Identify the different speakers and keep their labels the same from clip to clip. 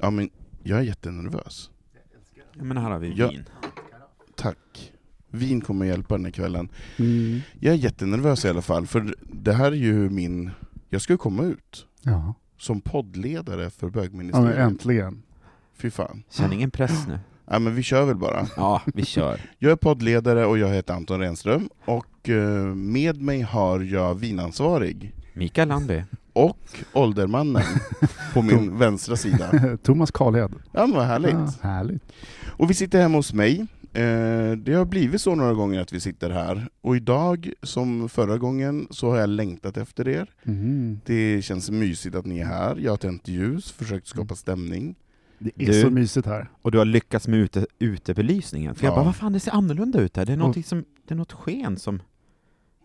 Speaker 1: Ja, men jag är jättenervös.
Speaker 2: Ja, men här har vi
Speaker 1: Ja.
Speaker 2: vin.
Speaker 1: Tack. Vin kommer hjälpa den här kvällen.
Speaker 3: Mm.
Speaker 1: Jag är jättenervös i alla fall, för det här är ju min... Jag ska ju komma ut
Speaker 3: Ja,
Speaker 1: som poddledare för
Speaker 3: ja men
Speaker 1: bögministeriet.
Speaker 3: äntligen.
Speaker 1: Fy fan.
Speaker 2: Känner ingen press nu.
Speaker 1: Ja, men vi kör väl bara.
Speaker 2: Ja, vi kör.
Speaker 1: Jag är poddledare och jag heter Anton Renström, och eh, med mig har jag vinansvarig
Speaker 2: Mikael Landby.
Speaker 1: och åldermannen på min vänstra sida.
Speaker 3: Thomas Karlhed.
Speaker 1: Ja, men vad härligt.
Speaker 3: Ja, härligt.
Speaker 1: Och vi sitter hemma hos mig. Eh, Det har blivit så några gånger att vi sitter här. Och idag, som förra gången, så har jag längtat efter er.
Speaker 2: Mm.
Speaker 3: Mhm.
Speaker 1: Det känns mysigt att ni är här. Jag har tänt ljus, försökt skapa stämning.
Speaker 3: Det är
Speaker 2: Du-
Speaker 3: så mysigt här.
Speaker 2: Och du har lyckats med ute, utebelysningen. För jag
Speaker 1: Ja.
Speaker 2: bara, vad fan det ser annorlunda ut här. Det är, någonting som, det är något sken som...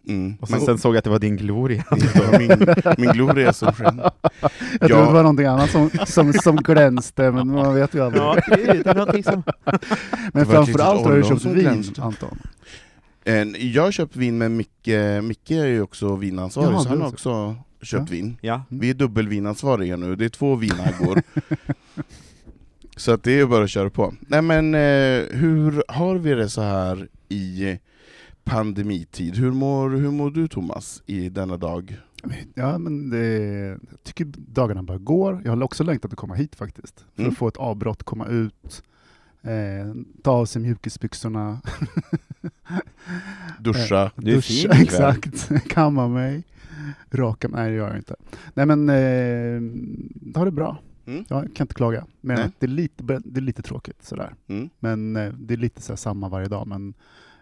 Speaker 1: Mm.
Speaker 2: Och sen, sen såg jag att det var din gloria.
Speaker 1: Men- min, min gloria som sken.
Speaker 3: Jag trodde det var
Speaker 1: Ja,
Speaker 3: någonting annat som, som, som glänste, men man vet ju aldrig.
Speaker 2: det är någonting som...
Speaker 3: Men
Speaker 1: var ett riktigt
Speaker 3: framförallt har du
Speaker 1: ollon
Speaker 3: köpt
Speaker 1: som
Speaker 3: vin,
Speaker 1: glänste.
Speaker 3: Anton.
Speaker 1: en- Eh, jag har köpt vin med Micke. Micke är ju också vinansvarig,
Speaker 3: Jaha,
Speaker 1: så han
Speaker 3: du
Speaker 1: har
Speaker 3: också.
Speaker 1: också köpt vin.
Speaker 2: Ja.
Speaker 1: Vi är dubbelvinansvariga nu, det är två vinaggor. så att det är ju bara att köra på. Nej men eh, hur har vi det så här i pandemitid? Hur mår, hur mår du Thomas i denna dag?
Speaker 3: Ja, men det, jag tycker dagarna bara går. Jag har också längtat att komma hit faktiskt. För
Speaker 1: Mm.
Speaker 3: att få ett avbrott, komma ut, eh, ta av sig mjukisbyxorna,
Speaker 1: Duscha?
Speaker 2: Du Eh, är
Speaker 3: Duscha,
Speaker 2: fin ikväll.
Speaker 3: Exakt, kamma mig, raka mig. Nej det gör jag inte. Nej men, eh, det har det bra.
Speaker 1: Mm.
Speaker 3: Jag kan inte klaga. Men
Speaker 1: Nej.
Speaker 3: att det, är lite, det är lite tråkigt sådär.
Speaker 1: Mm.
Speaker 3: Men eh, det är lite så här samma varje dag. Men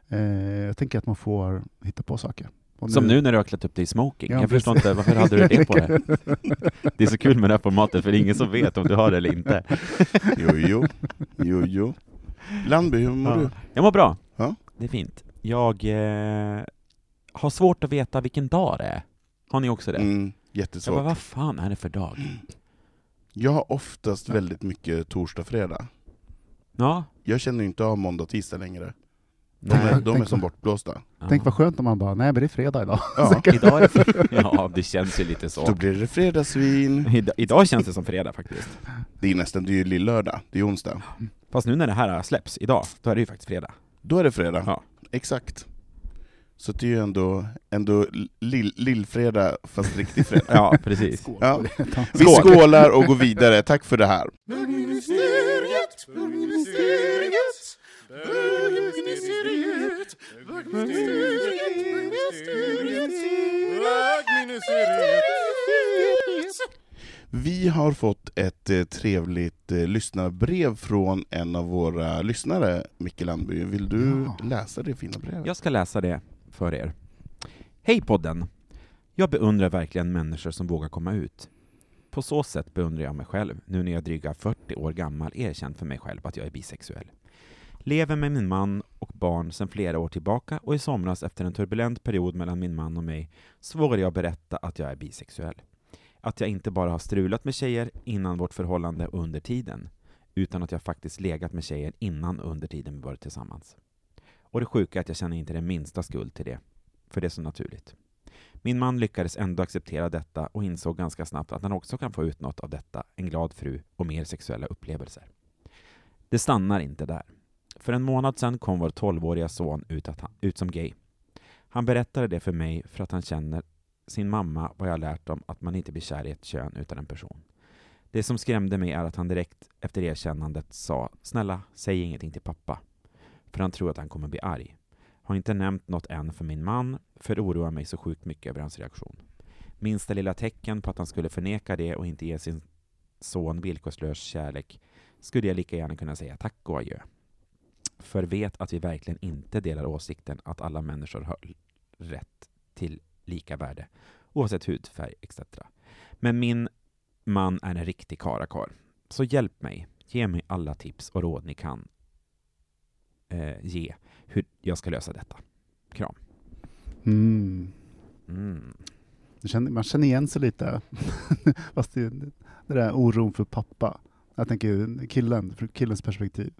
Speaker 3: eh, jag tänker att man får hitta på saker. Och
Speaker 2: Som nu när du har klätt upp dig i smoking.
Speaker 3: Ja,
Speaker 2: jag förstår inte, varför hade du det på dig? Det är så kul med det här formatet, för det är ingen som vet om du har det eller inte.
Speaker 1: Jo, jo. jo, jo. Landby, hur mår du?
Speaker 2: Jag mår bra.
Speaker 1: Ja.
Speaker 2: Det är fint. Jag eh, har svårt att veta vilken dag det är. Har ni också det?
Speaker 1: Mm,
Speaker 2: jag bara,
Speaker 1: jättesvårt.
Speaker 2: vad fan är det för dag?
Speaker 1: Jag har oftast väldigt mycket torsdag, fredag.
Speaker 2: Ja.
Speaker 1: Jag känner ju inte av måndag, tisdag längre. De
Speaker 2: Nej.
Speaker 1: är, de är
Speaker 3: Tänk-
Speaker 1: som bortblåsta.
Speaker 2: Ja.
Speaker 3: Tänk vad skönt om man bara, nej men det är fredag idag.
Speaker 1: Ja.
Speaker 2: Idag är det... Ja, det känns ju lite
Speaker 1: Då
Speaker 2: så.
Speaker 1: blir det fredagsvin.
Speaker 2: Ida- Idag känns det som fredag faktiskt.
Speaker 1: Det är nästan, det är ju lillördag, det är onsdag.
Speaker 2: Fast nu när det här släpps, idag, då är det ju faktiskt fredag.
Speaker 1: Då är det fredag.
Speaker 2: Ja.
Speaker 1: Exakt. Så det är ju ändå, ändå lill, lillfredag fast riktig fredag.
Speaker 2: Ja, precis.
Speaker 1: Ja. Vi
Speaker 2: Skål.
Speaker 1: skålar och går vidare, tack för det här. Vi har fått ett eh, trevligt eh, lyssnarbrev från en av våra lyssnare, Micke Landby. Vill du
Speaker 3: Ja.
Speaker 1: läsa det fina brevet?
Speaker 2: Jag ska läsa det för er. Hej podden! Jag beundrar verkligen människor som vågar komma ut. På så sätt beundrar jag mig själv, nu när jag är dryga 40 år gammal erkänt för mig själv att jag är bisexuell. Lever med min man och barn sedan flera år tillbaka och i somras efter en turbulent period mellan min man och mig så vågade jag berätta att jag är bisexuell. Att jag inte bara har strulat med tjejer innan vårt förhållande och under tiden, utan att jag faktiskt legat med tjejer innan och under tiden vi varit tillsammans. Och det sjuka är att jag känner inte den minsta skuld till det, för det är så naturligt. Min man lyckades ändå acceptera detta och insåg ganska snabbt att han också kan få ut något av detta, en glad fru och mer sexuella upplevelser. Det stannar inte där. För en månad sedan kom vår 12-åriga son ut, att han, ut som gay. Han berättade det för mig för att han känner sin mamma vad jag lärt dem att man inte blir kär i ett kön utan en person. Det som skrämde mig är att han direkt efter erkännandet sa ”Snälla, säg ingenting till pappa”, för han tror att han kommer bli arg. Har inte nämnt något än för min man, för det oroar mig så sjukt mycket över hans reaktion. Minsta lilla tecken på att han skulle förneka det och inte ge sin son villkorslös kärlek skulle jag lika gärna kunna säga tack och adjö. För vet att vi verkligen inte delar åsikten att alla människor har rätt till lika värde, oavsett hudfärg etc. Men min man är en riktig karakar. Så hjälp mig, ge mig alla tips och råd ni kan eh, ge hur jag ska lösa detta. Kram.
Speaker 3: Mm.
Speaker 2: Mm.
Speaker 3: Det känner- Man känner igen sig lite. Fast det, det där oron för pappa. Jag tänker killen, från killens perspektiv.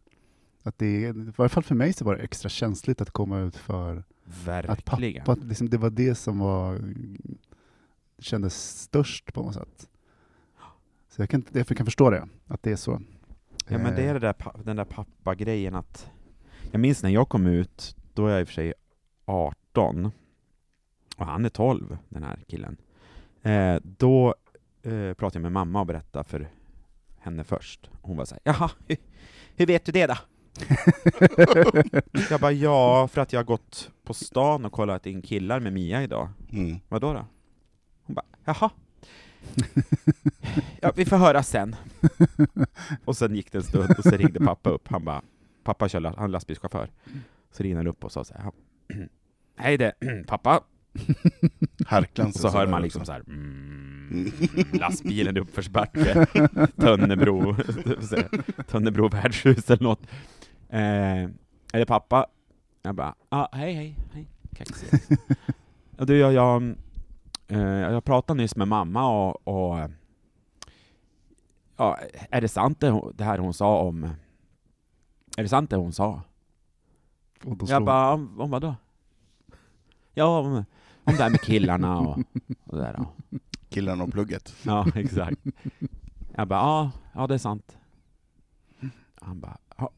Speaker 3: Att det, är- I varje fall för mig så var det extra känsligt att komma ut för att
Speaker 2: Verkligen.
Speaker 3: pappa, liksom, det var det som var, kändes störst på något sätt. Så jag kan, inte- jag kan förstå det, att det är så.
Speaker 2: Ja men det är det där, pa- den där pappa-grejen att Jag minns när jag kom ut, då är jag i och för sig 18 och han är 12, den här killen. Eh, då eh, pratade jag med mamma och berättade för henne först. Hon var såhär, jaha, hur, hur vet du det då? Jag bara, ja, för att jag har gått på stan och kollat in killar med Mia idag.
Speaker 1: Mm.
Speaker 2: Vadå då? Hon bara, jaha. Ja, vi får höra sen. Och sen gick det en stund och så ringde pappa upp. Han bara, pappa kör, la- han är lastbilschaufför. Så ringde han upp och sa så här, "Ja, hej det, pappa.
Speaker 1: Harklan
Speaker 2: Och så hör man liksom så här, mm, lastbilen i uppförsbacke, Tönnebro, så här, Tönnebro värdshus eller något. Eh, är det pappa? Jag bara, ah, hej hej, hej, kaxig. Ja, Du, jag, jag, eh, jag pratade nyss med mamma och, och ja, är det sant det, hon- det här hon sa om, är det sant det hon sa?
Speaker 3: Eh, Och då
Speaker 2: Jag
Speaker 3: slår,
Speaker 2: bara, "Ah, om, om vadå? Ja, om, om det här med killarna och, och det där. Ja.
Speaker 1: Killarna och plugget.
Speaker 2: Ja, exakt. Jag bara, ja, ja det är sant. Han bara, ja.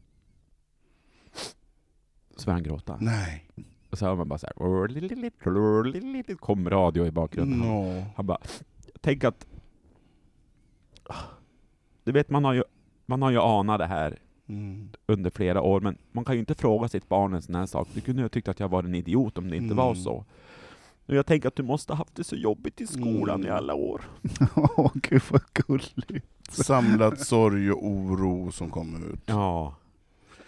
Speaker 2: Så började han gråta.
Speaker 1: Nej.
Speaker 2: Och så hör man bara så här, kom radio i bakgrunden.
Speaker 1: No.
Speaker 2: Han bara, tänk att... Du vet, man har ju, man har ju anat det här
Speaker 1: Mm.
Speaker 2: under flera år, men man kan ju inte fråga sitt barn en sån här sak. Du kunde ju ha tyckt att jag var en idiot om det inte var
Speaker 1: Mm.
Speaker 2: så. Och jag tänker att du måste ha haft det så jobbigt i skolan
Speaker 1: Mm.
Speaker 2: i alla år.
Speaker 3: åh gud vad gulligt.
Speaker 1: Samlad sorg och oro som kommer ut. liksom.
Speaker 2: Ja.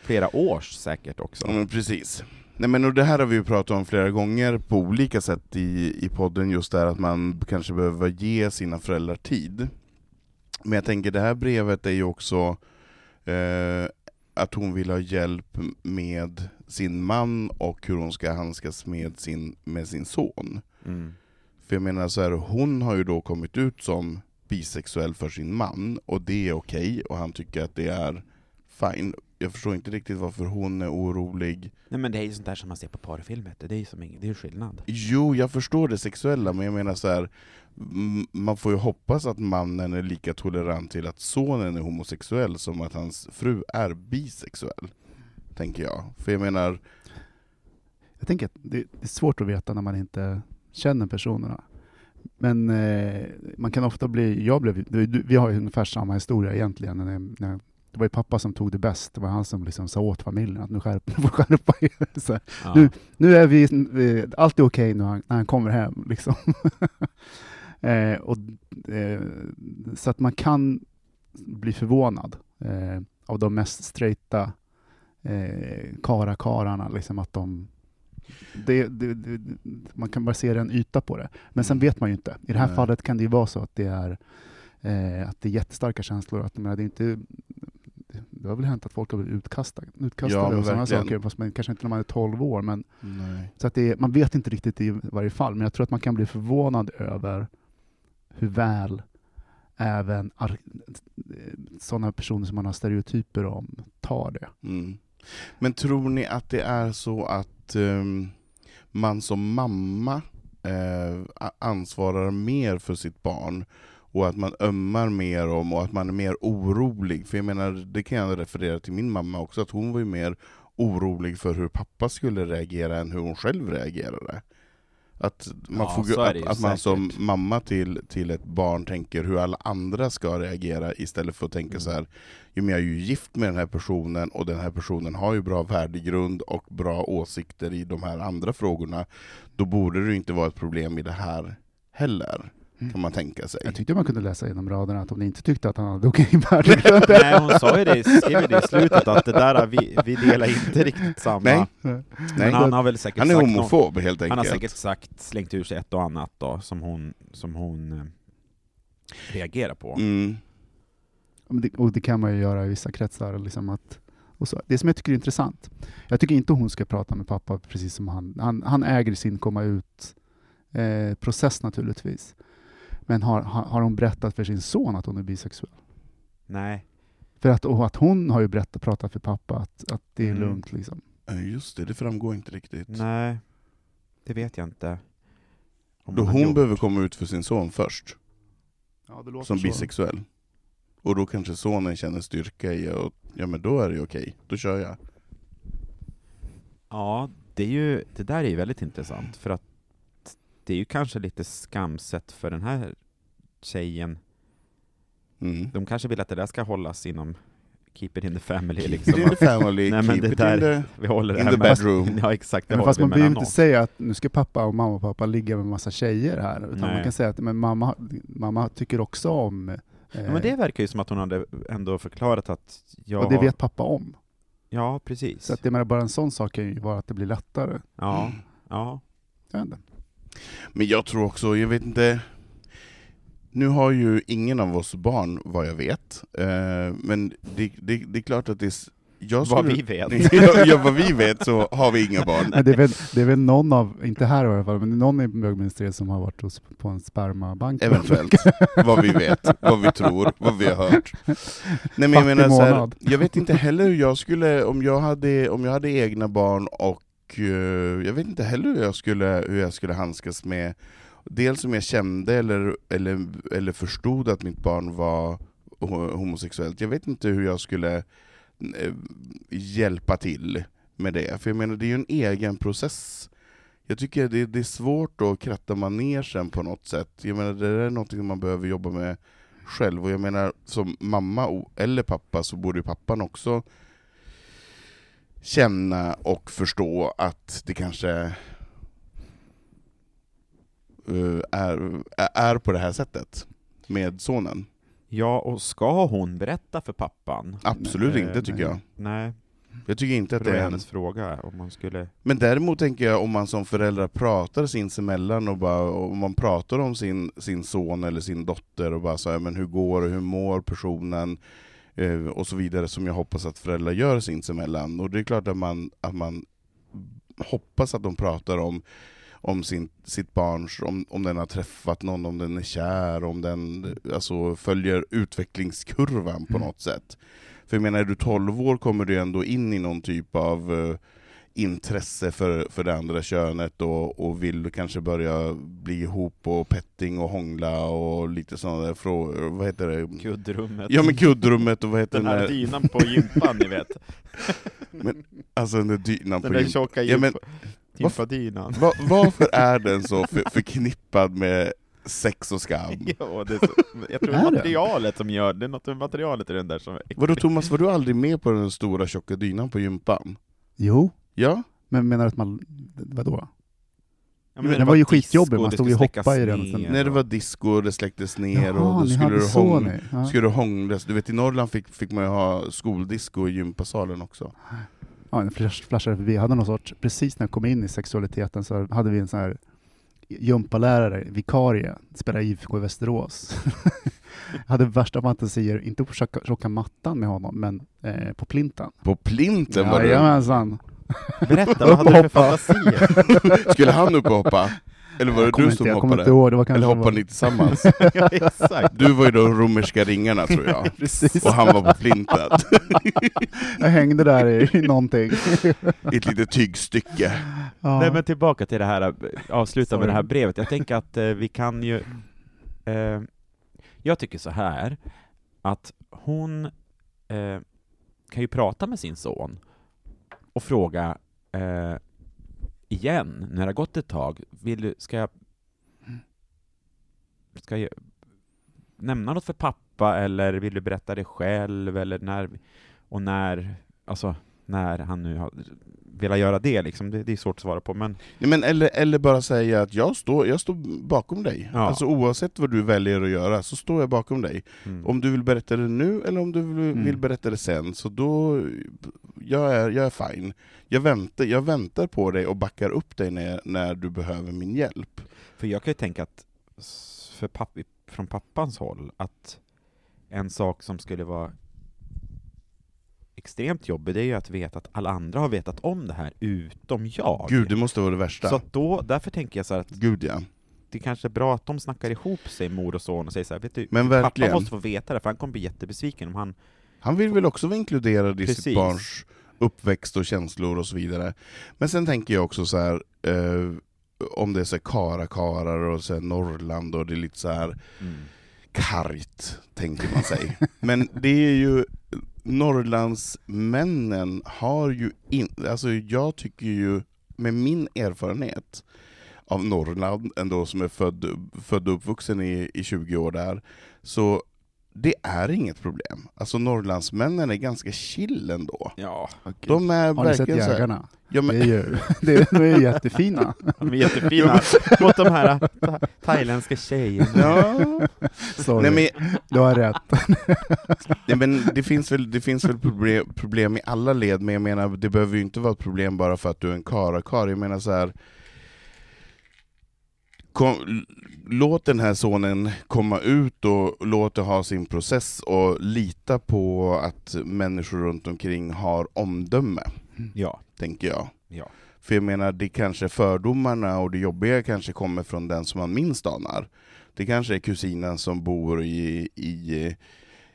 Speaker 2: Flera års säkert också.
Speaker 1: Ja, men Mm, precis. Nej, men och det här har vi ju pratat om flera gånger på olika sätt i, i podden, just det här att man kanske behöver ge sina föräldrar tid. Men jag tänker det här brevet är ju också eh, att hon vill ha hjälp med sin man och hur hon ska handskas med sin, med sin son.
Speaker 2: Mm.
Speaker 1: För jag menar så här, hon har ju då kommit ut som bisexuell för sin man, och det är okej, och han tycker att det är fine. Jag förstår inte riktigt varför hon är orolig
Speaker 2: Nej men det är ju sånt där som man ser på porrfilm, vet du. det är ju som ingen, det är ju skillnad.
Speaker 1: Jo, jag förstår det sexuella, men jag menar så här. m- Man får ju hoppas att mannen är lika tolerant till att sonen är homosexuell som att hans fru är bisexuell. Tänker jag. För jag menar,
Speaker 3: Jag tänker att det, det är svårt att veta när man inte känner personerna. Men eh, man kan ofta bli... Jag blev, du, du, vi har ju ungefär samma historia egentligen. När, jag- när, jag- det var ju pappa som tog det bäst. Det var han som liksom sa åt familjen att nu skärp, nu får skärpa er. Så här,
Speaker 2: Ja.
Speaker 3: nu är vi, vi- allt är okej när, han, när han kommer hem. Liksom. eh, och, eh, så att man kan bli förvånad eh, av de mest straighta eh, karakararna. Liksom att de, det, det, det, man kan bara se en yta på det. Men sen vet man ju inte. I det här
Speaker 1: Nej.
Speaker 3: fallet kan det ju vara så att det är eh, att det är jättestarka känslor. Att, men det, är inte, det har väl hänt att folk har blivit utkastade, utkastade
Speaker 1: men
Speaker 3: och sådana
Speaker 1: verkligen.
Speaker 3: saker. Fast man, kanske inte när man är 12 år, men
Speaker 1: nej.
Speaker 3: så att det är, man vet inte riktigt i varje fall, men jag tror att man kan bli förvånad över hur väl även ar- sådana personer som man har stereotyper om tar det.
Speaker 1: Mm. Men tror ni att det är så att ehm, man som mamma eh, a- ansvarar mer för sitt barn och att man ömmar mer om och att man är mer orolig? För jag menar, det kan jag referera till min mamma också, att hon var ju mer orolig för hur pappa skulle reagera än hur hon själv reagerade. Att man,
Speaker 2: Ja,
Speaker 1: får,
Speaker 2: så
Speaker 1: ju-
Speaker 2: är det
Speaker 1: att,
Speaker 2: ju
Speaker 1: att man som
Speaker 2: säkert.
Speaker 1: mamma till, till ett barn tänker hur alla andra ska reagera istället för att tänka
Speaker 2: Mm.
Speaker 1: så här. Jo, men jag är ju gift med den här personen och den här personen har ju bra värdegrund och bra åsikter i de här andra frågorna. Då borde det ju inte vara ett problem i det här heller,
Speaker 3: Mm.
Speaker 1: kan man tänka sig.
Speaker 3: Jag tyckte man kunde läsa genom raderna att om ni inte tyckte att han hade okej värdegrund.
Speaker 2: Nej, hon sa ju det, skrev ju det i slutet, att det där, vi, vi delar inte riktigt samma...
Speaker 1: Nej,
Speaker 2: Men
Speaker 1: nej.
Speaker 2: han har väl säkert
Speaker 1: Han är
Speaker 2: sagt någon-
Speaker 1: homofob helt enkelt.
Speaker 2: Han har säkert sagt, slängt ur sig ett och annat då, som hon, som hon eh, reagerar på.
Speaker 1: Mm.
Speaker 3: Men det- Och det kan man ju göra i vissa kretsar. Liksom att, och så. Det som jag tycker är intressant, jag tycker inte hon ska prata med pappa precis som han. Han, han äger sin komma ut-process naturligtvis. Men har, har har hon berättat för sin son att hon är bisexuell?
Speaker 2: Nej.
Speaker 3: För att, och att hon har ju berättat, pratat för pappa att, att det är
Speaker 2: Mm.
Speaker 3: lugnt. Liksom.
Speaker 1: Ja, Just det, det framgår inte riktigt.
Speaker 2: Nej, det vet jag inte. Om
Speaker 1: Då
Speaker 2: har
Speaker 1: hon
Speaker 2: gjort-
Speaker 1: behöver komma ut för sin son först, som bisexuell. Och då kanske sonen känner styrka i att ja men då är det ju okej, då kör jag.
Speaker 2: Ja, det, är ju, det där är ju väldigt intressant, för att det är ju kanske lite skamset för den här tjejen.
Speaker 1: Mm.
Speaker 2: De kanske vill att det där ska hållas inom keep it in the family,
Speaker 1: Keep it in
Speaker 2: liksom.
Speaker 1: the family,
Speaker 2: Nej, men
Speaker 1: keep
Speaker 2: det
Speaker 1: it
Speaker 2: där-
Speaker 1: in the...
Speaker 2: Vi håller det
Speaker 1: In
Speaker 2: här
Speaker 1: the
Speaker 2: med-
Speaker 1: bedroom.
Speaker 2: Ja, exakt. Det
Speaker 3: Men
Speaker 2: håller
Speaker 3: fast
Speaker 2: vi
Speaker 3: man behöver
Speaker 2: mellan
Speaker 3: inte
Speaker 2: oss.
Speaker 3: säga att nu ska pappa och mamma och pappa ligga med massa tjejer här. Utan
Speaker 2: Nej.
Speaker 3: man kan säga att men mamma, mamma tycker också om... Eh,
Speaker 2: Ja, men det verkar ju som att hon hade ändå förklarat att jag...
Speaker 3: och det
Speaker 2: har-
Speaker 3: vet pappa om.
Speaker 2: Ja, precis.
Speaker 3: Så att Mm. jag menar, bara en sån sak kan ju vara att det blir lättare.
Speaker 2: Ja, ja.
Speaker 3: Jag vet inte.
Speaker 1: Men jag tror också, jag vet inte... Nu har ju ingen av oss barn, vad jag vet. Eh, men det, det, det är klart att det... är s- Jag
Speaker 2: Vad
Speaker 1: skulle-
Speaker 2: vi vet.
Speaker 3: Mm.
Speaker 1: ja, ja, vad vi vet så har vi inga barn.
Speaker 3: Men det, är väl, det är väl någon av, inte här i alla fall, men någon i bögministeriet som har varit hos, på en spermabank.
Speaker 1: Eventuellt. Vad vi vet, vad vi tror, vad vi har hört. Nej, men jag,
Speaker 3: Fattig
Speaker 1: menar så här,
Speaker 3: månad.
Speaker 1: jag vet inte heller hur jag skulle, om jag hade, om jag hade egna barn och eh, jag vet inte heller hur jag skulle, hur jag skulle handskas med dels om jag kände eller, eller, eller förstod att mitt barn var ho- homosexuellt. Jag vet inte hur jag skulle eh, hjälpa till med det. För jag menar, det är ju en egen process. Jag tycker det, det är svårt att kratta manegen på något sätt. Jag menar, det där är något man behöver jobba med själv. Och jag menar, som mamma o- eller pappa så borde ju pappan också känna och förstå att det kanske eh, är, är på det här sättet med sonen.
Speaker 2: Ja, och ska hon berätta för pappan?
Speaker 1: Absolut
Speaker 2: Nej,
Speaker 1: inte tycker
Speaker 3: nej.
Speaker 1: jag.
Speaker 2: Nej,
Speaker 1: Jag tycker inte
Speaker 2: för
Speaker 1: att
Speaker 2: det
Speaker 1: det
Speaker 2: var
Speaker 1: är en
Speaker 2: hennes fråga. Om man skulle...
Speaker 1: Men däremot tänker jag om man som föräldrar pratar sinsemellan och bara, om man pratar om sin, sin son eller sin dotter och bara så här, men hur går det, hur mår personen eh, och så vidare som jag hoppas att föräldrar gör sinsemellan. Och det är klart att man, att man hoppas att de pratar om om sin, sitt barns, om, om den har träffat någon, om den är kär, om den alltså, följer utvecklingskurvan på
Speaker 3: Mm.
Speaker 1: något sätt. För jag menar, är du 12 år kommer du ändå in i någon typ av eh, intresse för, för det andra könet och, och vill kanske börja bli ihop och petting och hångla och lite sådana där frågor. Vad heter det?
Speaker 2: Kuddrummet.
Speaker 1: Ja men kuddrummet och vad heter
Speaker 2: Den
Speaker 1: den
Speaker 2: här
Speaker 1: där,
Speaker 2: dynan på gympan, ni vet.
Speaker 1: alltså den där dynan på
Speaker 2: Den där
Speaker 1: gym.
Speaker 2: tjocka
Speaker 1: Ja, men-
Speaker 2: gympa- gympadynan.
Speaker 1: Va, varför är den så för, förknippad med sex och skam?
Speaker 2: Ja, det är så, jag tror det
Speaker 3: Är
Speaker 2: är
Speaker 3: det?
Speaker 2: materialet som gör det, är något med materialet i den där som är äckligt.
Speaker 1: Vadå Thomas, var du aldrig med på den stora tjocka dynan på gympan?
Speaker 3: Jo,
Speaker 1: Ja?
Speaker 3: men menar du att man... Vadå?
Speaker 2: Ja, det
Speaker 3: men den var
Speaker 2: var
Speaker 3: ju
Speaker 2: disco,
Speaker 3: skitjobbig, man
Speaker 2: det
Speaker 3: stod ju och
Speaker 2: skulle
Speaker 3: hoppade i den
Speaker 2: släckas
Speaker 3: och sen-
Speaker 2: ner
Speaker 1: När det
Speaker 2: och-
Speaker 1: var disco och det släcktes ner och
Speaker 3: Jaha,
Speaker 1: då
Speaker 3: ni
Speaker 1: skulle
Speaker 3: hade
Speaker 1: du,
Speaker 3: så
Speaker 1: hång...
Speaker 3: ni. Ja.
Speaker 1: skulle du hånglas. Du vet i Norrland fick, fick man ju ha skoldisco i gympasalen också.
Speaker 3: Ja, den flash- flashade förbi. Jag hade någon sorts, precis när jag kom in i sexualiteten så hade vi en sån här gympalärare, vikarie, spelade IFK i Västerås. Jag hade värsta fantasier, inte på tjocka, tjocka mattan med honom, men eh, på plinten.
Speaker 1: På plinten var du!
Speaker 3: Jajamensan!
Speaker 2: Berätta, vad hade du för fantasier?
Speaker 1: Skulle han upp och hoppa? Eller var det
Speaker 3: Jag kommer
Speaker 1: du
Speaker 3: inte,
Speaker 1: som
Speaker 3: jag kommer
Speaker 1: hoppade?
Speaker 3: inte ihåg, det var kanske...
Speaker 1: Eller hoppade ni tillsammans?
Speaker 2: ja, exakt.
Speaker 1: Du var ju de romerska ringarna tror jag,
Speaker 3: Precis.
Speaker 1: och han var på plinten.
Speaker 3: Jag hängde där i, i någonting.
Speaker 1: I ett litet tygstycke.
Speaker 3: Ja.
Speaker 2: Nej men tillbaka till det här, eh, avsluta
Speaker 3: Sorry.
Speaker 2: med det här brevet. Jag tänker att eh, vi kan ju... Eh, jag tycker så här, att hon eh, kan ju prata med sin son och fråga eh, igen, när det har gått ett tag, vill du, ska jag... Ska jag nämna något för pappa, eller vill du berätta det själv, eller när... Och när, alltså, när han nu har velat göra det, liksom, det, det är svårt att svara på, men...
Speaker 1: Ja, men eller, eller bara säga att jag står, jag står bakom dig.
Speaker 2: Ja.
Speaker 1: Alltså oavsett vad du väljer att göra så står jag bakom dig.
Speaker 2: Mm.
Speaker 1: Om du vill berätta det nu eller om du vill,
Speaker 3: Mm.
Speaker 1: vill berätta det sen, så då... Jag är, jag är fine. Jag väntar, jag väntar på dig och backar upp dig när, när du behöver min hjälp.
Speaker 2: För jag kan ju tänka att, s- för papp, från pappans håll, att en sak som skulle vara extremt jobbig, det är ju att veta att alla andra har vetat om det här, utom jag.
Speaker 1: Gud, det måste vara det värsta.
Speaker 2: så att då, därför tänker jag så här att
Speaker 1: Gud ja.
Speaker 2: det kanske är bra att de snackar ihop sig, mor och son, och säger så här, vet du,
Speaker 1: Men
Speaker 2: pappa
Speaker 1: verkligen.
Speaker 2: måste få veta det, för han kommer bli jättebesviken om han...
Speaker 1: Han vill väl också vara inkluderad i
Speaker 2: Precis.
Speaker 1: sitt barns uppväxt och känslor och så vidare. Men sen tänker jag också så här eh, om det är så här karakarar och så här Norrland och det är lite så här kargt, tänker man sig. Men det är ju, Norrlandsmännen har ju inte, alltså jag tycker ju, med min erfarenhet av Norrland, ändå som är född, född och uppvuxen i, i 20 år där, så det är inget problem. Alltså Norrlandsmännen är ganska chill ändå.
Speaker 2: Ja,
Speaker 1: De är
Speaker 3: Har ni sett
Speaker 1: verkligen så här,
Speaker 3: jägarna?
Speaker 1: ja,
Speaker 3: Det
Speaker 1: men,
Speaker 3: är ju, det är, de är ju jättefina.
Speaker 2: de är jättefina. Mot de här tha- thailändska
Speaker 1: Mm.
Speaker 2: tjejerna.
Speaker 1: ja.
Speaker 3: Sorry,
Speaker 1: Nej, men
Speaker 3: du har rätt.
Speaker 1: Nej, men det finns väl, det finns väl problem, problem i alla led, men jag menar, det behöver ju inte vara ett problem bara för att du är en karakar. Jag menar så här. Kom, l- låt den här sonen komma ut och låt det ha sin process och lita på att människor runt omkring har omdöme,
Speaker 2: Ja,
Speaker 1: tänker jag.
Speaker 2: ja.
Speaker 1: För jag menar, det kanske fördomarna och det jobbiga kanske kommer från den som man minst anar. Det kanske är kusinen som bor i, i,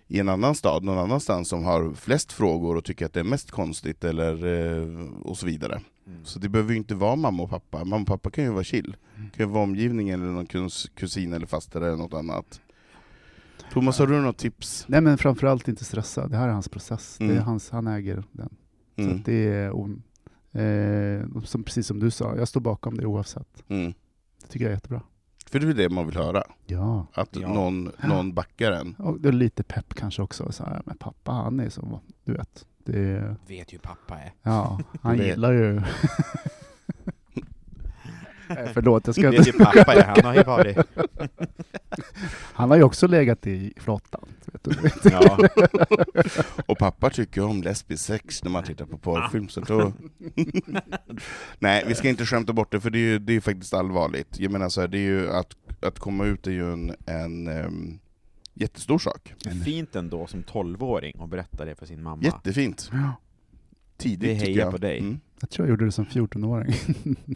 Speaker 1: i en annan stad, någon annanstans, som har flest frågor och tycker att det är mest konstigt, eller, eh, och så vidare.
Speaker 2: Mm.
Speaker 1: Så det behöver ju inte vara mamma och pappa. Mamma och pappa kan ju vara chill.
Speaker 3: Mm.
Speaker 1: Det kan ju vara omgivningen, eller någon kus, kusin eller faster eller något annat.
Speaker 3: Mm.
Speaker 1: Thomas, har du något tips?
Speaker 3: Nej men framförallt inte stressa, det här är hans process. Det är
Speaker 1: Mm.
Speaker 3: hans, han äger den. Så
Speaker 1: Mm,
Speaker 3: att det är on, eh, som, precis som du sa, jag står bakom det oavsett.
Speaker 1: mm.
Speaker 3: Det tycker jag är jättebra.
Speaker 1: För det är det man vill höra,
Speaker 3: Ja,
Speaker 1: att
Speaker 2: Ja.
Speaker 1: någon, någon backar en.
Speaker 3: och det är lite pepp kanske också. Så här, men pappa han är som, du vet. Det är,
Speaker 2: Vet ju hur pappa eh. är.
Speaker 3: ja, han
Speaker 1: Det-
Speaker 3: gillar ju... Nej, Förlåt, jag ska
Speaker 2: Vet
Speaker 3: inte...
Speaker 2: ju hur pappa är, han har ju varit...
Speaker 3: Han har ju också legat i flottan. Vet du.
Speaker 2: Ja.
Speaker 1: Och pappa tycker om lesbisk sex när man tittar på porrfilm, så då... Nej, vi ska inte skämta bort det, för det är ju det är ju faktiskt allvarligt. Jag menar så här, det är ju att, att komma ut är ju en, en ehm, jättestor sak.
Speaker 2: Fint ändå som 12-åring att berätta det för sin mamma.
Speaker 1: Jättefint.
Speaker 3: Ja,
Speaker 1: Tidigt
Speaker 2: Vi
Speaker 1: tycker
Speaker 2: hejar
Speaker 1: jag.
Speaker 2: på dig.
Speaker 1: Mm.
Speaker 3: Jag tror jag gjorde det som 14-åring.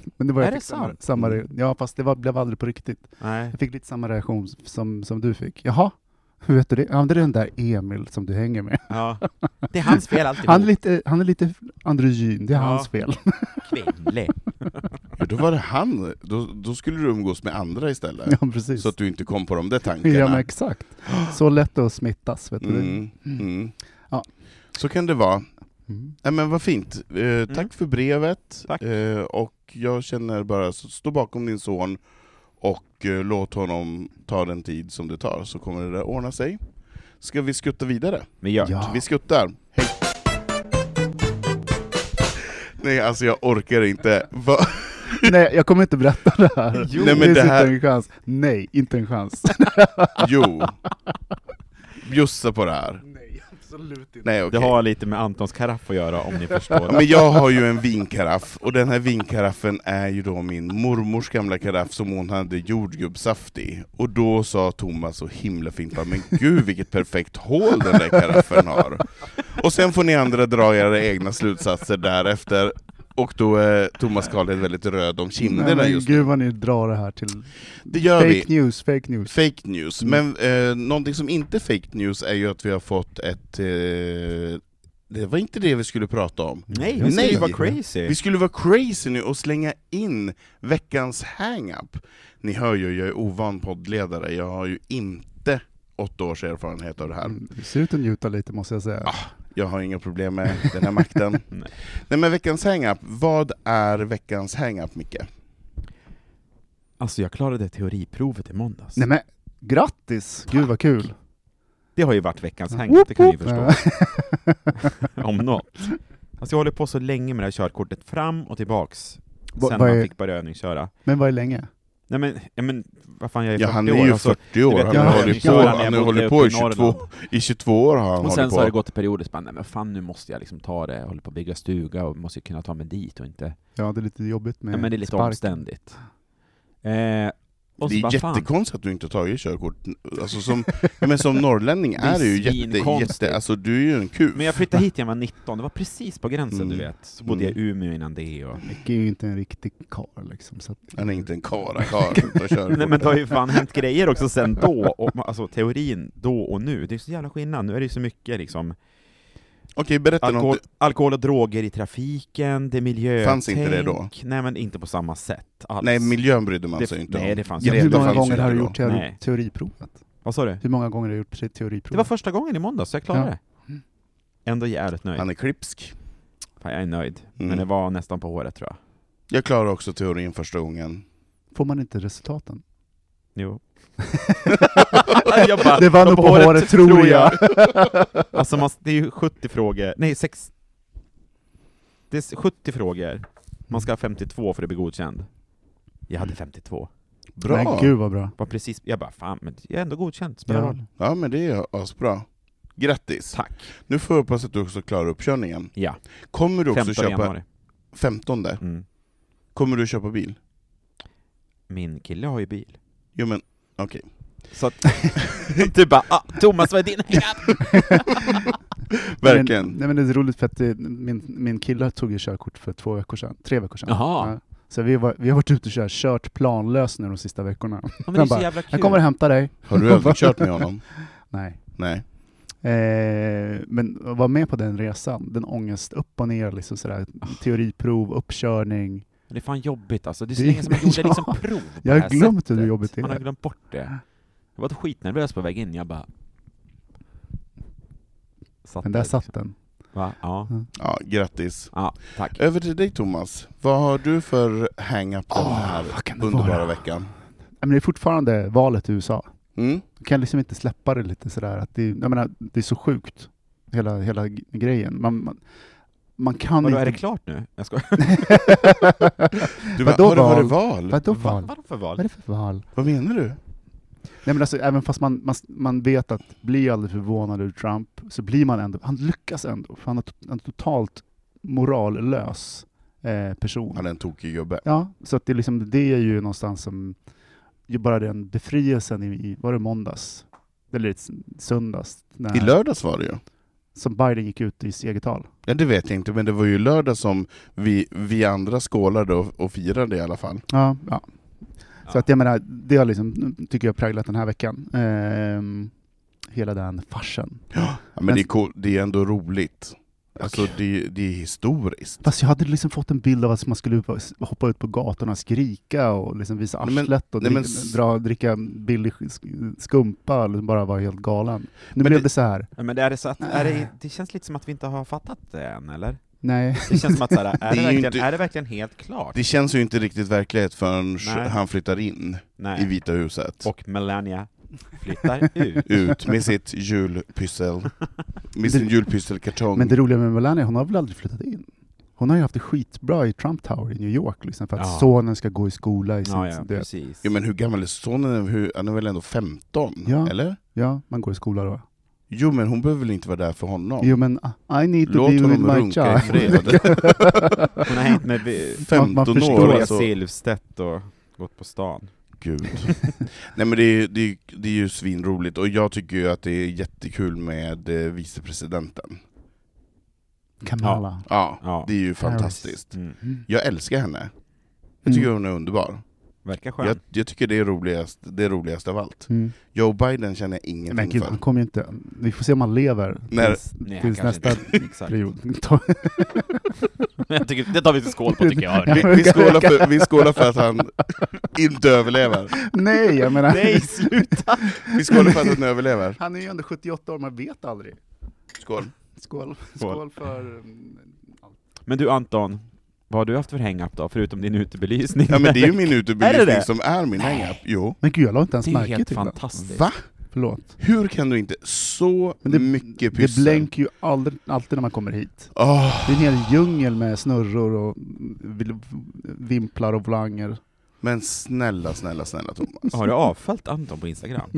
Speaker 3: Men det var
Speaker 2: Är
Speaker 3: jag
Speaker 2: det
Speaker 3: fick samma,
Speaker 2: sant?
Speaker 3: samma, re- ja, fast det var, blev aldrig på riktigt.
Speaker 2: Nej.
Speaker 3: Jag fick lite samma reaktion som, som du fick. Jaha, hur vet du det? Ja, men det är den där Emil som du hänger med.
Speaker 2: Ja. Det är hans fel alltid.
Speaker 3: Han är lite, han är lite androgyn, det är
Speaker 2: Ja.
Speaker 3: hans fel.
Speaker 2: kvinnlig.
Speaker 1: Ja, Då var det han, då, då skulle du umgås med andra istället.
Speaker 3: Ja, precis.
Speaker 1: Så att du inte kom på de där tankarna.
Speaker 3: ja, men exakt. Så lätt att smittas, vet du.
Speaker 1: Mm, mm.
Speaker 3: Ja.
Speaker 1: Så kan det vara.
Speaker 3: Mm.
Speaker 1: Nej, men vad fint. Eh,
Speaker 2: Mm.
Speaker 1: Tack för brevet.
Speaker 2: Tack.
Speaker 1: Eh, och jag känner bara, så stå bakom din son och eh, låt honom ta den tid som det tar, så kommer det där ordna sig. Ska vi skutta vidare?
Speaker 2: Men gör.
Speaker 3: Ja.
Speaker 1: Vi skuttar. Hej. Nej, alltså jag orkar inte. Va?
Speaker 3: Nej, jag kommer inte berätta det här.
Speaker 1: Jo. Nej, men
Speaker 3: finns
Speaker 1: det här-
Speaker 3: inte en chans. Nej, inte en chans.
Speaker 1: Jo. Bjussa på det här.
Speaker 3: Nej, absolut inte.
Speaker 1: Nej,
Speaker 2: Det
Speaker 1: okej.
Speaker 2: har lite med Antons karaff att göra om ni förstår.
Speaker 1: Ja, Men jag har ju en vinkaraff, och den här vinkaraffen är ju då min mormors gamla karaff som hon hade jordgubbssaft i. Och då sa Thomas så himla fint bara, men gud vilket perfekt hål den där karaffen har. Och sen får ni andra dra era egna slutsatser därefter. Och då är Thomas Karlhed väldigt röd om
Speaker 3: Nej,
Speaker 1: kinderna
Speaker 3: men
Speaker 1: just nu.
Speaker 3: gud vad ni drar det här till
Speaker 1: Det gör vi.
Speaker 3: fake news, fake news.
Speaker 1: Fake news. Men eh, någonting som inte är fake news är ju att vi har fått ett... Eh, det var inte det vi skulle prata om.
Speaker 2: Nej,
Speaker 3: vi
Speaker 2: nej,
Speaker 3: skulle
Speaker 2: vad
Speaker 3: vara
Speaker 2: crazy.
Speaker 1: Vi skulle vara crazy nu och slänga in veckans hang-up. Ni hör ju, jag är ovan poddledare, jag har ju inte åtta års erfarenhet av det här.
Speaker 3: Mm, ser ut att njuta lite måste jag säga.
Speaker 1: Ah. Jag har inga problem med den här makten.
Speaker 2: Nej.
Speaker 1: Nej men veckans hang-up, vad är veckans hang-up Micke?
Speaker 2: Alltså jag klarade teoriprovet i måndags.
Speaker 3: Nej men grattis! Gud vad kul!
Speaker 2: Det har ju varit veckans hang det kan ni förstå. Om något. Alltså jag håller på så länge med det här körkortet, fram och tillbaks,
Speaker 3: Va-
Speaker 2: sen
Speaker 3: vad
Speaker 2: man
Speaker 3: är-
Speaker 2: fick börja övningsköra.
Speaker 3: Men vad är länge?
Speaker 2: Nej men, ja, men vad fan, jag är
Speaker 1: Ja
Speaker 2: 40
Speaker 1: han
Speaker 2: år.
Speaker 1: är ju
Speaker 2: alltså.
Speaker 1: 40 år,
Speaker 2: vet,
Speaker 1: han
Speaker 3: jag-
Speaker 1: har hållit
Speaker 3: jag- jag-
Speaker 1: på,
Speaker 3: jag-
Speaker 1: han har
Speaker 2: jag-
Speaker 1: hållit
Speaker 2: jag-
Speaker 1: på i
Speaker 2: jag-
Speaker 1: 22, i 22 år har han
Speaker 2: och sen
Speaker 1: hållit
Speaker 2: så har det
Speaker 1: på.
Speaker 2: gått perioder, så bara, nej men fan nu måste jag liksom ta det, jag håller på att bygga stuga och måste ju kunna ta mig dit och inte...
Speaker 3: Ja, det är lite jobbigt med
Speaker 2: Ja men det är lite
Speaker 3: spark.
Speaker 2: omständigt. Eh, och
Speaker 1: Det
Speaker 2: så bara,
Speaker 1: är
Speaker 2: fan,
Speaker 1: jättekonstigt att du inte har tagit körkort, alltså som, ja, men som norrlänning
Speaker 2: Det
Speaker 1: är
Speaker 2: är
Speaker 1: du ju jätte,
Speaker 2: svinkonstigt.
Speaker 1: jätte, alltså du är ju en kuf.
Speaker 2: Men jag flyttade hit när jag var 19, det var precis på gränsen
Speaker 1: Mm.
Speaker 2: du vet. Så bodde jag i Umeå innan det och...
Speaker 3: Micke är ju inte en riktig karl liksom. Så att...
Speaker 1: Han är inte en karl, han har inte körkort.
Speaker 2: Nej men det har ju fan hänt grejer också sen då, och, ma- alltså teorin då och nu. Det är så jävla skillnad, nu är det ju så mycket liksom
Speaker 1: Okej, berätta
Speaker 2: alkohol,
Speaker 1: något.
Speaker 2: alkohol och droger i trafiken, det är miljötänk.
Speaker 1: Fanns inte det då?
Speaker 2: Nej men inte på samma sätt alls.
Speaker 1: Nej, miljön brydde man
Speaker 2: Det-
Speaker 1: sig inte
Speaker 2: nej,
Speaker 1: om.
Speaker 2: det fanns
Speaker 3: Ja,
Speaker 2: ju
Speaker 3: hur
Speaker 2: det
Speaker 3: många
Speaker 2: fanns ju
Speaker 3: gånger har du
Speaker 1: inte
Speaker 3: gjort
Speaker 2: då.
Speaker 3: teori...
Speaker 2: Nej.
Speaker 3: teoriprovet?
Speaker 2: Vad sa du?
Speaker 3: Hur många gånger har du gjort te- teoriprovet?
Speaker 2: Det var första gången i måndag så jag klarade det. Ändå jävligt nöjd.
Speaker 1: Han är klipsk.
Speaker 2: Fan, jag är nöjd.
Speaker 1: Mm.
Speaker 2: Men det var nästan på håret tror jag.
Speaker 1: Jag klarade också teorin första gången.
Speaker 3: Får man inte resultaten?
Speaker 2: Jo. Jag bara,
Speaker 3: det var
Speaker 2: de
Speaker 3: nog på håret, tror jag.
Speaker 2: Alltså man, det är ju 70 frågor, nej sex... Det är s- 70 frågor, man ska ha 52 för att bli godkänd. Jag hade 52.
Speaker 1: Bra!
Speaker 3: Men gud vad bra.
Speaker 2: Var precis, jag bara fan, men jag är ändå godkänd, spelar
Speaker 3: Ja.
Speaker 2: roll.
Speaker 1: Ja men det är asbra. Grattis!
Speaker 2: Tack.
Speaker 1: Nu får jag hoppas att du också klarar uppkörningen.
Speaker 2: Ja,
Speaker 1: Kommer du också
Speaker 2: 15
Speaker 1: köpa...
Speaker 2: januari.
Speaker 1: 15
Speaker 2: Mm.
Speaker 1: Kommer du köpa bil?
Speaker 2: Min kille har ju bil.
Speaker 1: Jo men,
Speaker 2: Så att, du bara ah, Thomas vad är din hang-up?
Speaker 1: verkligen.
Speaker 3: Men, nej, men det är roligt för att det, min, min kille tog ju körkort för två veckor sedan, tre veckor sedan.
Speaker 2: Jaha.
Speaker 3: Ja. Så vi, var, vi har varit ute och kört, kört planlöst nu de sista veckorna.
Speaker 2: Ja, men det är så
Speaker 3: bara,
Speaker 2: jävla
Speaker 3: Jag
Speaker 2: kul.
Speaker 3: kommer och hämtar dig.
Speaker 1: Har du överkört med honom?
Speaker 3: Nej.
Speaker 1: Nej.
Speaker 3: Eh, men att vara med på den resan, den ångest upp och ner, liksom sådär, teoriprov, uppkörning.
Speaker 2: Det är fan jobbigt alltså, det är så
Speaker 3: Det-
Speaker 2: länge som man gjorde
Speaker 3: Ja.
Speaker 2: liksom prov på
Speaker 3: Jag har
Speaker 2: det här
Speaker 3: glömt hur
Speaker 2: sättet.
Speaker 3: jobbigt det
Speaker 2: Man har
Speaker 3: är.
Speaker 2: glömt bort det. Jag var skitnervös på väg in, jag bara... Satt
Speaker 3: Men där
Speaker 2: liksom.
Speaker 3: satt den.
Speaker 2: Va? Ja.
Speaker 1: Ja, grattis.
Speaker 2: ja, tack.
Speaker 1: Över till dig Thomas. Vad har du för hang-up den
Speaker 3: Åh,
Speaker 1: här
Speaker 3: vad kan det
Speaker 1: underbara
Speaker 3: vara?
Speaker 1: veckan?
Speaker 3: Nej, Men det är fortfarande valet i USA.
Speaker 1: Mm?
Speaker 3: Jag kan liksom inte släppa det lite sådär, att det, jag menar, det är så sjukt, hela, hela g- grejen. Man, man, man kan
Speaker 2: Vadå,
Speaker 3: inte...
Speaker 2: är det klart nu? Jag skojar.
Speaker 1: Du, bara,
Speaker 3: Vadå
Speaker 1: har det varit
Speaker 3: val?
Speaker 1: val?
Speaker 3: Vadå
Speaker 2: Va,
Speaker 3: val?
Speaker 2: vadå för
Speaker 3: Vad är
Speaker 2: val?
Speaker 3: det för val?
Speaker 1: Vad menar du?
Speaker 3: Nej men alltså, även fast man, man, man vet att bli aldrig förvånad över Trump, så blir man ändå, han lyckas ändå, för han är to- en totalt morallös eh, person.
Speaker 1: Han är en tokig gubbe.
Speaker 3: Ja, så att det, är liksom, det är ju någonstans som, ju bara den befrielsen i- i, var det måndags? Eller s- söndags? När,
Speaker 1: I lördags var det ju.
Speaker 3: som Biden gick ut i sitt eget tal.
Speaker 1: Ja, det vet jag inte, men det var ju lördag som vi, vi andra skålade och, och firade i alla fall.
Speaker 3: Ja, ja. Så
Speaker 2: Ja.
Speaker 3: att jag menar, det har liksom, tycker jag präglat den här veckan. Ehm, hela den farsen.
Speaker 1: Ja, men
Speaker 3: Men-
Speaker 1: det, är cool, det är ändå roligt. Alltså det, det är historiskt.
Speaker 3: Fast jag hade liksom fått en bild av att man skulle hoppa- hoppa ut på gatorna och skrika och liksom visa
Speaker 1: Nej, men-
Speaker 3: arslet och
Speaker 1: nej, men
Speaker 3: dricka,
Speaker 1: s-
Speaker 3: dra, dricka billig sk- skumpa och liksom bara vara helt galen. Nu
Speaker 1: Men
Speaker 3: blev
Speaker 1: det-
Speaker 3: det så här.
Speaker 2: Ja, Men är det så att, är det, det känns lite som att vi inte har fattat det än, eller?
Speaker 3: Nej.
Speaker 2: Det känns som att så här,
Speaker 1: är
Speaker 2: är,
Speaker 1: ju
Speaker 2: det verkligen,
Speaker 1: inte-
Speaker 2: är det verkligen helt klart?
Speaker 1: Det känns ju inte riktigt verklighet förrän
Speaker 2: Nej.
Speaker 1: han flyttar in i
Speaker 2: Nej.
Speaker 1: Vita huset.
Speaker 2: Och Melania flyttar ut.
Speaker 1: Ut med sitt julpyssel. Med sin
Speaker 3: Det-
Speaker 1: julpysselkartong.
Speaker 3: Men det roliga med Melania, hon har väl aldrig flyttat in? Hon har ju haft det skitbra i Trump Tower i New York, liksom, för att
Speaker 2: Ja.
Speaker 3: sonen ska gå i skola i sin...
Speaker 2: Ja, ja,
Speaker 3: det-
Speaker 2: precis.
Speaker 1: Ja, men hur gammal är sonen? Hur- Han är väl ändå 15?
Speaker 3: Ja.
Speaker 1: Eller?
Speaker 3: ja, man går i skola då.
Speaker 1: Jo men hon behöver väl inte vara där för honom?
Speaker 3: Jo men, ah, I need to
Speaker 1: Låt
Speaker 3: be with
Speaker 1: honom
Speaker 3: my
Speaker 1: runka i
Speaker 3: child.
Speaker 1: fred.
Speaker 2: Hon har hängt med vi-
Speaker 1: 15
Speaker 3: man förstår
Speaker 1: år
Speaker 2: Victoria
Speaker 1: alltså.
Speaker 2: Silvstedt och gått på stan.
Speaker 1: Gud. Nej men det är, det, är, det är ju svinroligt, och jag tycker ju att det är jättekul med eh, vicepresidenten.
Speaker 3: Kamala.
Speaker 1: Ja,
Speaker 2: Ja.
Speaker 1: det är ju fantastiskt.
Speaker 2: Mm.
Speaker 3: Mm.
Speaker 1: Jag älskar henne. Jag tycker hon är underbar.
Speaker 2: Verkar skön.
Speaker 1: Jag, jag tycker det är roligast, det är roligast av allt.
Speaker 3: Mm.
Speaker 1: Joe Biden känner jag ingenting
Speaker 3: Men gud,
Speaker 1: för.
Speaker 3: han kommer ju inte... Vi får se om han lever
Speaker 1: När-
Speaker 3: tills,
Speaker 2: Nej,
Speaker 3: tills
Speaker 2: kanske
Speaker 3: nästa
Speaker 2: inte. Exakt.
Speaker 3: period. Ta-
Speaker 4: Jag tycker, det tar vi till skål på tycker jag. hörni.
Speaker 1: Vi, vi, skålar för, vi skålar för att han inte överlever.
Speaker 3: Nej, jag menar...
Speaker 4: Nej, sluta!
Speaker 1: Vi skålar för att han överlever.
Speaker 3: Han är ju ändå 78 år, man vet aldrig.
Speaker 1: Skål.
Speaker 3: Skål,
Speaker 2: Skål
Speaker 3: skål för... mm,
Speaker 2: Men du Anton, vad har du haft för hang-up då, förutom din utebelysning?
Speaker 1: Ja men det är ju min
Speaker 2: Är det det?
Speaker 1: utebelysning som är min hang-up. Jo.
Speaker 3: Men gud, jag la inte ens
Speaker 2: Det är ju
Speaker 3: märke
Speaker 2: helt
Speaker 3: till den.
Speaker 2: fantastiskt.
Speaker 1: Va?
Speaker 3: Förlåt.
Speaker 1: Hur kan du inte? Så
Speaker 3: Men det-
Speaker 1: mycket
Speaker 3: Det
Speaker 1: pyssel.
Speaker 3: blänker ju aldrig, alltid när man kommer hit.
Speaker 1: Åh,
Speaker 3: Det är en hel djungel med snurror och vil- vimplar och volanger.
Speaker 1: men snälla, snälla, snälla Thomas.
Speaker 2: Har du avföljt Anton på Instagram?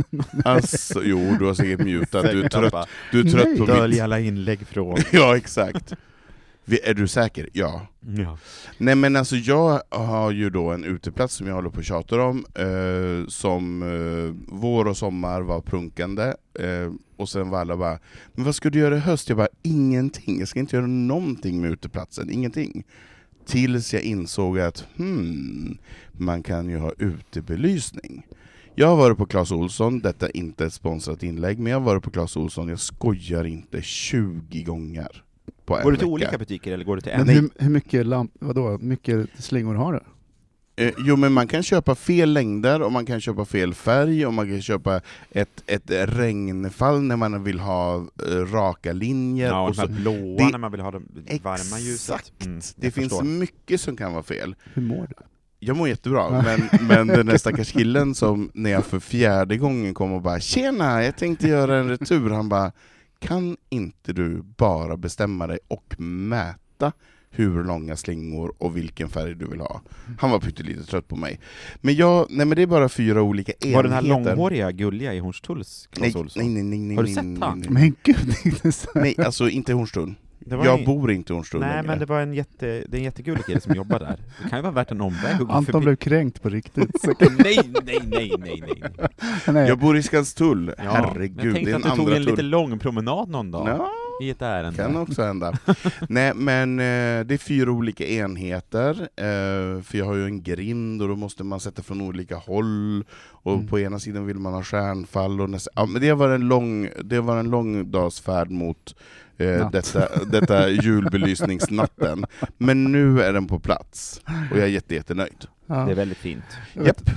Speaker 1: Alltså, jo, du har säkert mutat. Du är trött,
Speaker 4: Pappa,
Speaker 1: du är trött
Speaker 3: Nej.
Speaker 1: på mitt...
Speaker 2: alla inlägg från...
Speaker 1: Ja, exakt. Vi- Är du säker? Ja.
Speaker 2: Ja.
Speaker 1: Nej men alltså jag har ju då en uteplats som jag håller på och tjatar om, eh, som eh, vår och sommar var prunkande, eh, och sen var alla bara ”Men vad ska du göra i höst?” Jag bara ”Ingenting, jag ska inte göra någonting med uteplatsen, ingenting”. Tills jag insåg att hmm, man kan ju ha utebelysning. Jag har varit på Clas Olsson, detta är inte ett sponsrat inlägg, men jag har varit på Clas Olsson, jag skojar inte, 20 gånger på en
Speaker 2: Går du till
Speaker 1: vecka.
Speaker 2: olika butiker eller går du till en?
Speaker 3: Men
Speaker 1: Nej.
Speaker 3: hur, hur mycket lamp, vadå, hur mycket slingor har du?
Speaker 1: Eh, jo men man kan köpa fel längder, och man kan köpa fel färg, och man kan köpa ett, ett regnfall när man vill ha eh, raka linjer.
Speaker 2: Ja, och
Speaker 1: och
Speaker 2: de här
Speaker 1: så.
Speaker 2: blåa
Speaker 1: det-
Speaker 2: när man vill ha det varma ljuset.
Speaker 1: Exakt.
Speaker 2: Mm,
Speaker 1: Det
Speaker 2: jag
Speaker 1: finns
Speaker 2: förstår.
Speaker 1: mycket som kan vara fel.
Speaker 3: Hur mår du?
Speaker 1: Jag mår jättebra, men, men den där stackars killen som när jag för fjärde gången kom och bara ”Tjena, jag tänkte göra en retur”, han bara ”Kan inte du bara bestämma dig och mäta hur långa slingor och vilken färg du vill ha?” Han var pyttelite trött på mig. Men jag, nej men det är bara fyra olika enheter.
Speaker 2: Var den här långhåriga, gulliga i Hornstulls
Speaker 1: Nej,
Speaker 2: Clas
Speaker 1: nej,
Speaker 2: Ohlson?
Speaker 1: nej, nej, nej,
Speaker 2: Har du
Speaker 1: nej,
Speaker 2: sett
Speaker 1: nej,
Speaker 2: han?
Speaker 1: nej.
Speaker 3: Men gud, det är inte så-
Speaker 1: Nej, alltså inte i Hornstull.
Speaker 2: Det var
Speaker 1: Jag
Speaker 2: en-
Speaker 1: bor inte i Hornstull
Speaker 2: Nej,
Speaker 1: längre.
Speaker 2: men det var en, jätte, det är en jättegullig kille som jobbar där. Det kan ju vara värt en omväg att gå
Speaker 3: Anton
Speaker 2: förbi.
Speaker 3: blev kränkt på riktigt. Så,
Speaker 2: Nej, nej, nej, nej, nej. Ja,
Speaker 3: nej.
Speaker 1: Jag bor i Skanstull,
Speaker 2: men
Speaker 1: herregud. det
Speaker 2: Jag tänkte
Speaker 1: är
Speaker 2: att
Speaker 1: en
Speaker 2: du tog
Speaker 1: andra
Speaker 2: en lite
Speaker 1: tull.
Speaker 2: lång promenad någon dag.
Speaker 1: Ja,
Speaker 2: I ett ärende.
Speaker 1: kan också hända. Nej, men eh, det är fyra olika enheter, eh, för jag har ju en grind och då måste man sätta från olika håll, och
Speaker 3: Mm.
Speaker 1: på ena sidan vill man ha stjärnfall och nästa... Ja, men det var en lång, det var en lång dags färd mot eh,
Speaker 3: Natt.
Speaker 1: detta, detta julbelysningsnatten. Men nu är den på plats, och jag är jätte, jättenöjd.
Speaker 2: Det är
Speaker 3: ja.
Speaker 2: väldigt fint.
Speaker 1: Japp.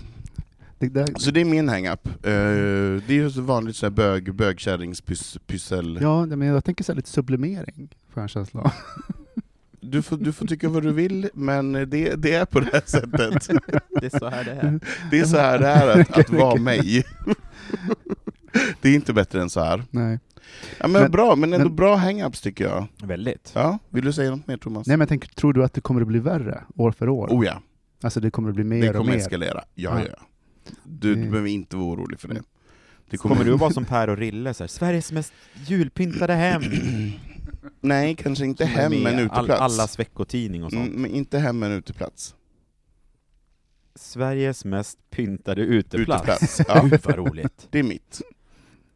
Speaker 3: det där,
Speaker 1: Så det är min hang-up. Eh, det är ju så vanligt så här bög, bögkärringspyssel.
Speaker 3: ja, men jag tänker så här lite sublimering, får jag en känsla av.
Speaker 1: Du, får, du får tycka vad du vill, men det, det är på det här sättet.
Speaker 2: Det är så här det är.
Speaker 1: Det är så här det är att, att vara mig. Det är inte bättre än så här.
Speaker 3: Nej.
Speaker 1: Ja, men,
Speaker 3: Men-
Speaker 1: bra, men ändå
Speaker 3: men-
Speaker 1: bra hang-ups tycker jag.
Speaker 2: Väldigt.
Speaker 1: Ja, vill du säga något mer Thomas?
Speaker 3: Nej men jag tänker, tror du att det kommer att bli värre år för år?
Speaker 1: Oh ja,
Speaker 3: Alltså det kommer att bli mer
Speaker 1: det
Speaker 3: och
Speaker 1: kommer
Speaker 3: mer?
Speaker 1: eskalera. Ja, ja.
Speaker 3: Ja.
Speaker 1: ja. Du, du
Speaker 3: Det-
Speaker 1: behöver inte vara orolig för det. det
Speaker 2: Kommer, du att vara som Per och Rille, så här, Sveriges mest julpyntade hem?
Speaker 1: Nej, kanske inte
Speaker 2: Som är
Speaker 1: hem,
Speaker 2: med
Speaker 1: men uteplats.
Speaker 2: All, allas veckotidning och sånt.
Speaker 1: Mm, men inte hem, men uteplats.
Speaker 2: Sveriges mest pyntade uteplats.
Speaker 1: Uteplats. Ja,
Speaker 2: Gud vad roligt.
Speaker 1: det är mitt.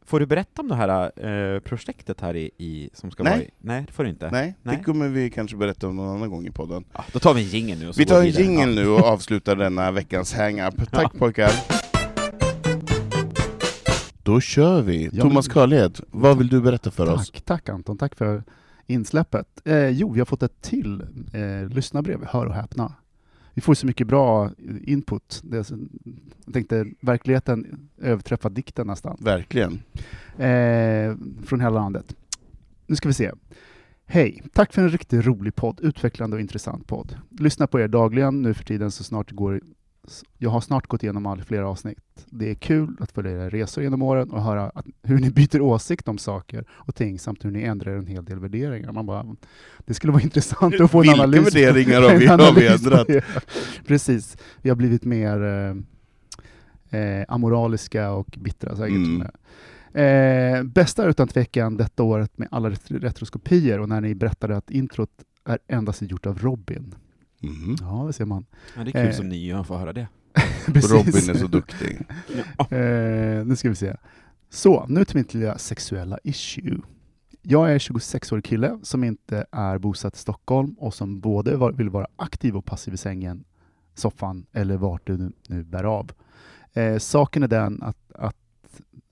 Speaker 2: Får du berätta om det här eh, projektet här i, i som ska
Speaker 1: Nej.
Speaker 2: vara i... Nej, det får du inte.
Speaker 1: Nej,
Speaker 2: Nej.
Speaker 1: det kommer vi kanske berätta om någon annan gång i podden.
Speaker 2: Ja, då tar vi en jingel nu och så
Speaker 1: Vi
Speaker 2: går
Speaker 1: tar en
Speaker 2: vidare.
Speaker 1: jingel
Speaker 2: Ja.
Speaker 1: nu och avslutar denna veckans hang-up. Tack pojkar! Då kör vi!
Speaker 3: men-
Speaker 1: Thomas Karlhed, vad vill du berätta för oss?
Speaker 3: Tack, tack Anton, tack för insläppet. Eh, jo, vi har fått ett till eh, lyssnarbrev, hör och häpna. Vi får så mycket bra input. Det är, så- jag tänkte verkligheten överträffar dikten nästan.
Speaker 1: Verkligen.
Speaker 3: eh, från hela landet. Nu ska vi se. Hej! Tack för en riktigt rolig podd, utvecklande och intressant podd. Lyssna på er dagligen nu för tiden så snart det går jag har snart gått igenom all flera avsnitt. Det är kul att följa era resor genom åren och höra att, hur ni byter åsikt om saker och ting samt hur ni ändrar en hel del värderingar. Man bara, det skulle vara intressant att få en
Speaker 1: Vilka
Speaker 3: analys. på-
Speaker 1: värderingar har
Speaker 3: en
Speaker 1: vi- har vi
Speaker 3: analys på
Speaker 1: ändrat?
Speaker 3: det. Precis. Vi har blivit mer eh, eh, amoraliska och bittra säkert.
Speaker 1: Mm.
Speaker 3: Mm. Eh, bästa är utan tvekan detta året med alla ret- retroskopier och när ni berättade att introt är endast gjort av Robin.
Speaker 1: Mhm.
Speaker 3: Ja, det ser man.
Speaker 2: Ja, det är kul
Speaker 3: Eh.
Speaker 2: som nya får höra det.
Speaker 3: Precis.
Speaker 1: Robin är så duktig.
Speaker 3: Eh, nu ska vi se. Så, nu till mitt lilla sexuella issue. Jag är 26-årig kille som inte är bosatt i Stockholm och som både var, vill vara aktiv och passiv i sängen soffan eller vart du nu, nu bär av. Eh, saken är den att, att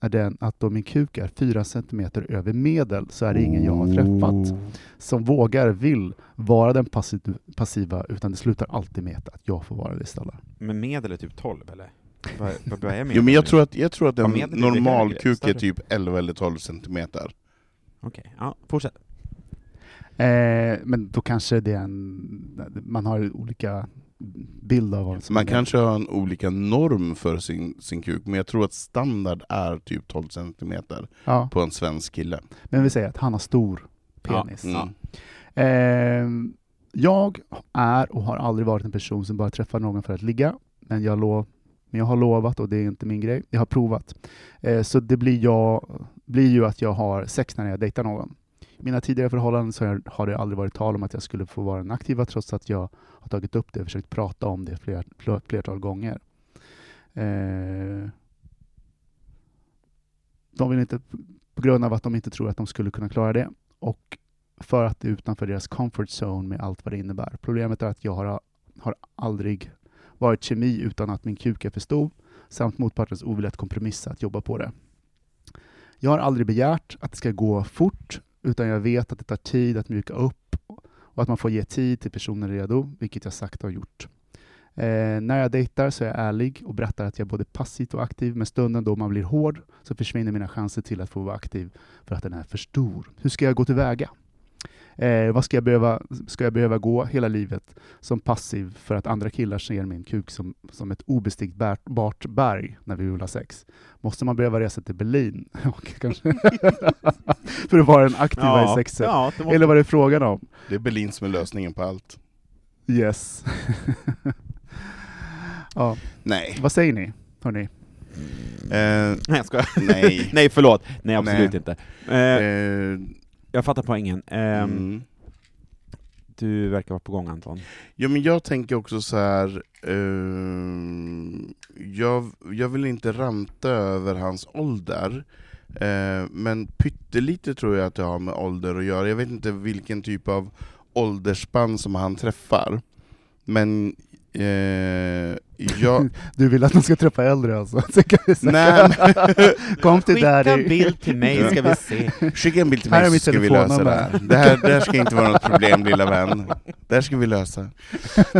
Speaker 3: är den att då min kuk är fyra centimeter över medel så är det ingen jag har
Speaker 1: Oh.
Speaker 3: träffat som vågar, vill vara den passiv, passiva utan det slutar alltid med att jag får vara det istället.
Speaker 2: Men medel är typ 12 eller? Vad, vad vad är medel?
Speaker 1: Jo men jag tror att, jag tror att
Speaker 2: Ja,
Speaker 1: en
Speaker 2: medel är lite
Speaker 1: normal
Speaker 2: högre,
Speaker 1: kuk är
Speaker 2: större.
Speaker 1: typ 11 eller 12 centimeter.
Speaker 2: Okej, ja, fortsätt.
Speaker 3: Eh, men då kanske det är en... Man har olika bild av vad som
Speaker 1: Man
Speaker 3: är-
Speaker 1: kanske har en olika norm för sin, sin kuk, men jag tror att standard är typ 12 centimeter
Speaker 3: Ja,
Speaker 1: på en svensk kille.
Speaker 3: men vi säger att han har stor
Speaker 2: Ja,
Speaker 3: penis.
Speaker 1: Mm.
Speaker 3: Ehm, jag är och har aldrig varit en person som bara träffar någon för att ligga, men jag, lov, men jag har lovat och det är inte min grej. Jag har provat. Eh, så det blir, jag, blir ju att jag har sex när jag dejtar någon. I mina tidigare förhållanden så har jag- har det aldrig varit tal om att jag skulle få vara den aktiva trots att jag har tagit upp det och försökt prata om det fler, fler, flertal gånger. Eh, de vill inte, på grund av att de inte tror att de skulle kunna klara det och för att det är utanför deras comfort zone med allt vad det innebär. Problemet är att jag har, har aldrig varit kemi utan att min kuk är för stor samt motpartens ovilja att kompromissa att jobba på det. Jag har aldrig begärt att det ska gå fort utan jag vet att det tar tid att mjuka upp och att man får ge tid till personen är redo, vilket jag sagt har gjort. Eh, när jag dejtar så är jag ärlig och berättar att jag är både passivt och aktiv, men stunden då man blir hård så försvinner mina chanser till att få vara aktiv för att den är för stor. Hur ska jag gå tillväga? Eh, vad ska jag, behöva, ska jag behöva gå hela livet som passiv för att andra killar ser min kuk som, som ett obestigbart berg när vi vill ha sex? Måste man behöva resa till Berlin Och kanske för att vara den aktiva i sexet?
Speaker 2: ja, det måste...
Speaker 3: Eller vad det är frågan om?
Speaker 1: Det är Berlin som är lösningen på allt.
Speaker 3: Yes. ja,
Speaker 1: Nej.
Speaker 3: vad säger ni? Hörrni?
Speaker 2: Mm.
Speaker 1: Eh,
Speaker 2: Nej, jag skojar.
Speaker 1: nej.
Speaker 2: Nej, förlåt. Nej, absolut
Speaker 1: Nej.
Speaker 2: inte. Eh,
Speaker 1: Eh,
Speaker 2: jag fattar poängen. Ehm,
Speaker 1: mm.
Speaker 2: Du verkar vara på gång Anton.
Speaker 1: Ja, men jag tänker också så här. ehm, jag, jag vill inte ranta över hans ålder, eh, men pyttelite tror jag att det har med ålder att göra. Jag vet inte vilken typ av åldersspann som han träffar, men eh, jag...
Speaker 3: Du vill att de ska träffa äldre alltså? Så kan vi säga.
Speaker 1: Nej, men,
Speaker 3: Kom till
Speaker 2: Skicka en
Speaker 3: daddy.
Speaker 2: bild till mig ska vi se.
Speaker 1: skicka en bild till
Speaker 3: Här är
Speaker 1: mig så
Speaker 3: mitt
Speaker 1: ska vi lösa det här. Det här. Det här ska inte vara något problem lilla vän. Det här ska vi lösa.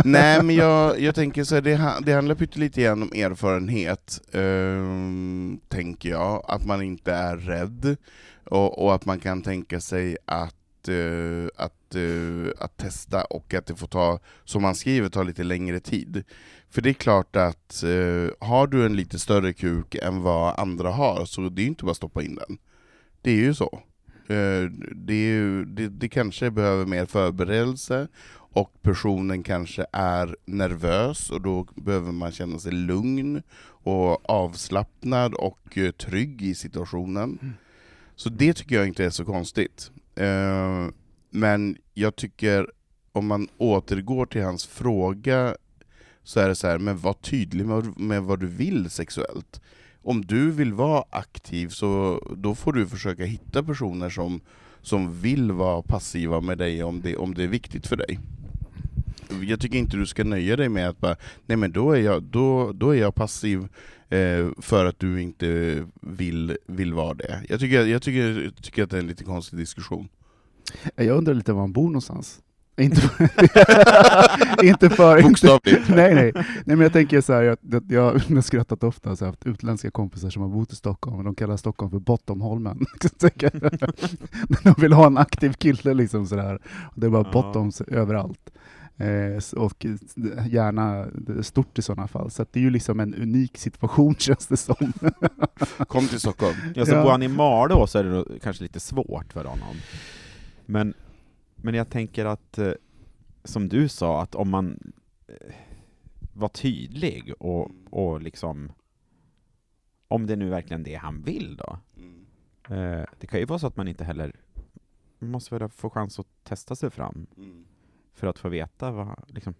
Speaker 1: Nej men jag, jag tänker så här, det, ha- det handlar pyttelite igen om erfarenhet, ehm, tänker jag. Att man inte är rädd, och, och att man kan tänka sig att, eh, att, eh, att testa, och att det får ta, som han skriver, ta lite längre tid. För det är klart att eh, har du en lite större kuk än vad andra har, så det är ju inte bara att stoppa in den. Det är ju så. Eh, Det, är ju, det, det kanske behöver mer förberedelse, och personen kanske är nervös och då behöver man känna sig lugn och avslappnad och eh, trygg i situationen. Så det tycker jag inte är så konstigt. Eh, Men jag tycker, om man återgår till hans fråga, så är det så här, men var tydlig med, med vad du vill sexuellt. Om du vill vara aktiv, så då får du försöka hitta personer som, som vill vara passiva med dig om det, om det är viktigt för dig. Jag tycker inte du ska nöja dig med att bara, nej men då är jag, då, då är jag passiv eh, för att du inte vill, vill vara det. Jag tycker, jag, tycker, jag tycker att det är en lite konstig diskussion.
Speaker 3: Jag undrar lite var han bor någonstans? Inte för... inte för inte...
Speaker 1: Bokstavligt.
Speaker 3: Nej, nej. nej, men jag tänker så här, jag, jag, jag har skrattat ofta och så här, haft utländska kompisar som har bott i Stockholm, och de kallar Stockholm för Bottomholmen. Så tänker jag, När de vill ha en aktiv kille liksom sådär. Det är bara
Speaker 2: Ja.
Speaker 3: bottoms överallt. Eh, s- och gärna stort i sådana fall. Så att det är ju liksom en unik situation känns det som.
Speaker 1: Kom till Stockholm.
Speaker 2: Ja, så
Speaker 3: Ja.
Speaker 2: bor han i Malå så är det nog kanske lite svårt för honom. Men, men jag tänker att, eh, som du sa, att om man eh, var tydlig och, och liksom, om det nu verkligen är det han vill då. Eh, det kan ju vara så att man inte heller, man måste väl få chans att testa sig fram för att få veta vad, liksom,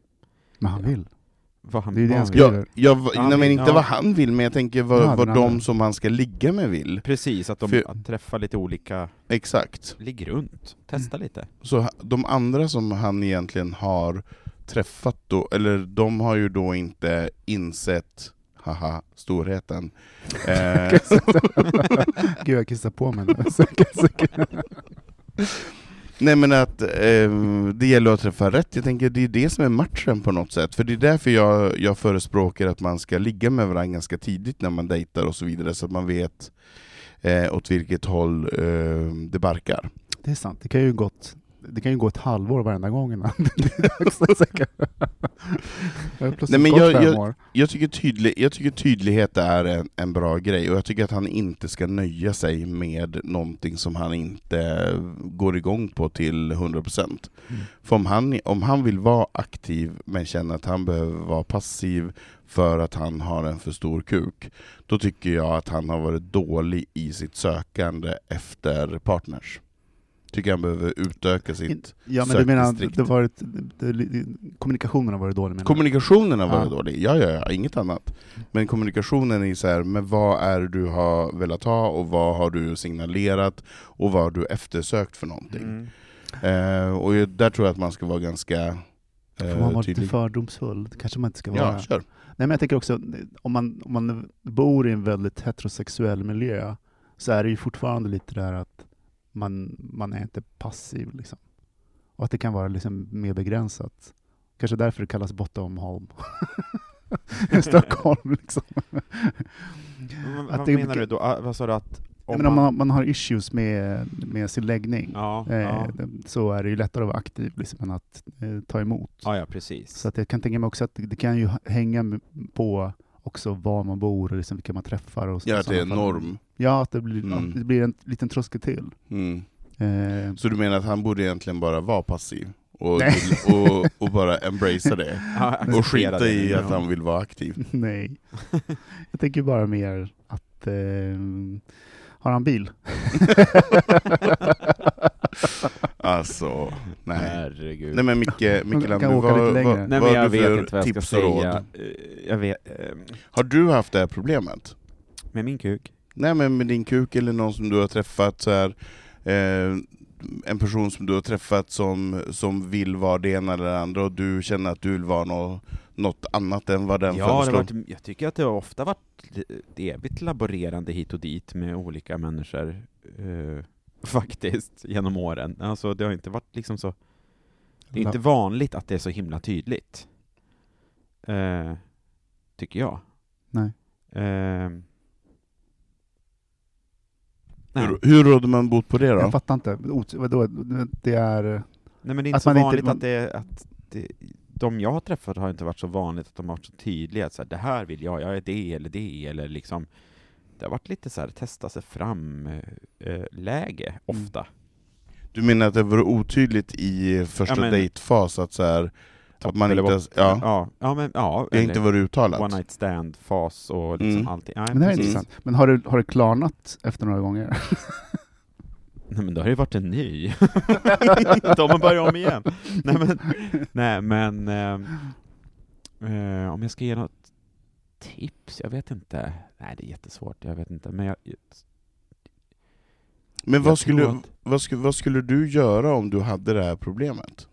Speaker 3: Men han vill.
Speaker 2: vad han
Speaker 3: Det är ju det
Speaker 2: vad han-
Speaker 3: han skriver.
Speaker 1: Jag, jag,
Speaker 2: Ja,
Speaker 1: nej men
Speaker 2: men-
Speaker 1: inte
Speaker 2: ja.
Speaker 1: vad han vill, men jag tänker vad,
Speaker 3: Ja,
Speaker 1: vad
Speaker 3: men han-
Speaker 1: de som han ska ligga med vill.
Speaker 2: Precis, att, de,
Speaker 1: För-
Speaker 2: att träffa lite olika,
Speaker 1: Exakt.
Speaker 3: Mm.
Speaker 2: ligg runt, testa lite.
Speaker 1: Så ha- de andra som han egentligen har träffat då, eller de har ju då inte insett, haha, storheten. Eh,
Speaker 3: Alltså. Gud, jag kissar på mig nu. Så jag kan- så kan-
Speaker 1: Nej men att eh, det gäller att träffa rätt, jag tänker det är det som är matchen på något sätt. För det är därför jag, jag förespråkar att man ska ligga med varandra ganska tidigt när man dejtar och så vidare, så att man vet eh, åt vilket håll eh, det barkar.
Speaker 3: Det är sant, det kan ju gått det kan ju gå ett halvår varenda gång innan det är dags att säga. Det har plötsligt
Speaker 1: Nej, men
Speaker 3: gått
Speaker 1: jag-
Speaker 3: fem
Speaker 1: jag-
Speaker 3: år.
Speaker 1: Jag tycker, tydlig, jag tycker tydlighet är en, en bra grej, och jag tycker att han inte ska nöja sig med någonting som han inte går igång på till 100%.
Speaker 3: Mm.
Speaker 1: För om han, om han vill vara aktiv men känner att han behöver vara passiv för att han har en för stor kuk, då tycker jag att han har varit dålig i sitt sökande efter partners. Tycker han behöver utöka sitt...
Speaker 3: Ja, men du menar att
Speaker 1: sökdistrikt.
Speaker 3: det varit, det, det, kommunikationen har varit dålig? menar du?
Speaker 1: Kommunikationen har varit
Speaker 3: Mm. Ja.
Speaker 1: dålig, ja, ja ja, inget annat. Men kommunikationen är så här, men vad är det du har velat ha och vad har du signalerat och vad har du eftersökt för någonting?
Speaker 2: Mm.
Speaker 1: Eh, och ju- där tror jag att man ska vara ganska
Speaker 3: Får man
Speaker 1: eh,
Speaker 3: vara lite
Speaker 1: tydlig.
Speaker 3: fördomsfull? Det kanske man inte ska vara.
Speaker 1: Ja, kör.
Speaker 3: Nej, men jag tänker också, om man, om man bor i en väldigt heterosexuell miljö så är det ju fortfarande lite där att man, man är inte passiv. Liksom. Och att det kan vara liksom mer begränsat. Kanske därför det kallas Bottomholm. I Stockholm liksom.
Speaker 2: Men,
Speaker 3: Att
Speaker 2: vad
Speaker 3: det-
Speaker 2: menar du då? Ah, Vad sa du att...
Speaker 3: Om men om man, man har issues med, med sin läggning
Speaker 2: Ja,
Speaker 3: eh,
Speaker 2: ja.
Speaker 3: så är det ju lättare att vara aktiv liksom, än att eh, ta emot.
Speaker 2: Ah, ja, ja precis.
Speaker 3: Så att jag kan tänka mig också att det kan ju hänga m- på också var man bor och liksom vilka man träffar. Och så-
Speaker 1: Ja, att det är en
Speaker 3: sådana fall.
Speaker 1: norm.
Speaker 3: Ja, att det blir,
Speaker 1: Mm.
Speaker 3: att det blir en liten tröskel till.
Speaker 1: Mm.
Speaker 3: Eh,
Speaker 1: Så du menar att han borde egentligen bara vara passiv? Och,
Speaker 3: Nej.
Speaker 1: och, och bara embracea det?
Speaker 2: Ja,
Speaker 1: Och
Speaker 2: acceptera
Speaker 1: skita
Speaker 2: det.
Speaker 1: i
Speaker 3: nu,
Speaker 1: att
Speaker 3: ja. Mm.
Speaker 1: han vill vara aktiv?
Speaker 3: nej. Jag tänker bara mer att... Eh, har han bil?
Speaker 1: Alltså, nej.
Speaker 2: Herregud.
Speaker 1: Nej men Micke, Mickeland,
Speaker 3: kan åka
Speaker 1: vad,
Speaker 3: lite
Speaker 1: vad,
Speaker 3: längre.
Speaker 1: vad,
Speaker 2: Nej, men jag
Speaker 1: har du
Speaker 2: vet
Speaker 1: för
Speaker 2: inte vad jag ska
Speaker 1: tips och råd?
Speaker 2: säga. Eh, Jag vet, eh,
Speaker 1: Har du haft det här problemet?
Speaker 2: med min kuk?
Speaker 1: Nej men med din kuk eller någon som du har träffat så här, eh, En person som du har träffat som, som vill vara det ena eller det andra och du känner att du vill vara nå något annat än vad den
Speaker 2: Ja, det typ- har
Speaker 1: föreslår?
Speaker 2: varit, jag tycker att det har ofta varit ett evigt laborerande hit och dit med olika människor, eh, faktiskt, genom åren. Alltså, det har inte varit liksom så... Det är inte vanligt att det är så himla tydligt. Eh, tycker jag.
Speaker 3: Nej.
Speaker 2: Eh, nej.
Speaker 1: Hur, hur råder man bot på det då?
Speaker 3: Jag fattar inte. Ot- Vadå? Det är...
Speaker 2: nej, men det är inte
Speaker 3: att
Speaker 2: så
Speaker 3: man inte-
Speaker 2: vanligt
Speaker 3: man-
Speaker 2: att det är... Att det, de jag har träffat har inte varit så vanligt att de har varit så tydliga, att så här, det här vill jag, jag är det eller det, eller liksom... Det har varit lite så här, testa sig fram-läge,
Speaker 3: Mm.
Speaker 2: ofta.
Speaker 1: Du menar att det var otydligt i första
Speaker 2: Ja, men-
Speaker 1: dejtfas att så här, att man
Speaker 2: eller
Speaker 1: inte, ja,
Speaker 2: Ja, ja, men ja.
Speaker 1: det har inte varit
Speaker 2: One
Speaker 1: uttalat?
Speaker 2: night stand-fas och liksom
Speaker 1: Mm.
Speaker 2: allting. Nej,
Speaker 3: Men det här är
Speaker 2: precis.
Speaker 3: intressant. Men har det, har det klarnat efter några gånger?
Speaker 2: Nej men då har det varit en ny. Då har man börjat om igen. Nej men, nej, men ehm, eh, om jag ska ge något tips, jag vet inte. Nej det är jättesvårt, jag vet inte. Men jag,
Speaker 1: Men
Speaker 2: Jag
Speaker 1: vad skulle,
Speaker 2: tror att-
Speaker 1: vad, skulle, vad skulle du göra om du hade det här problemet?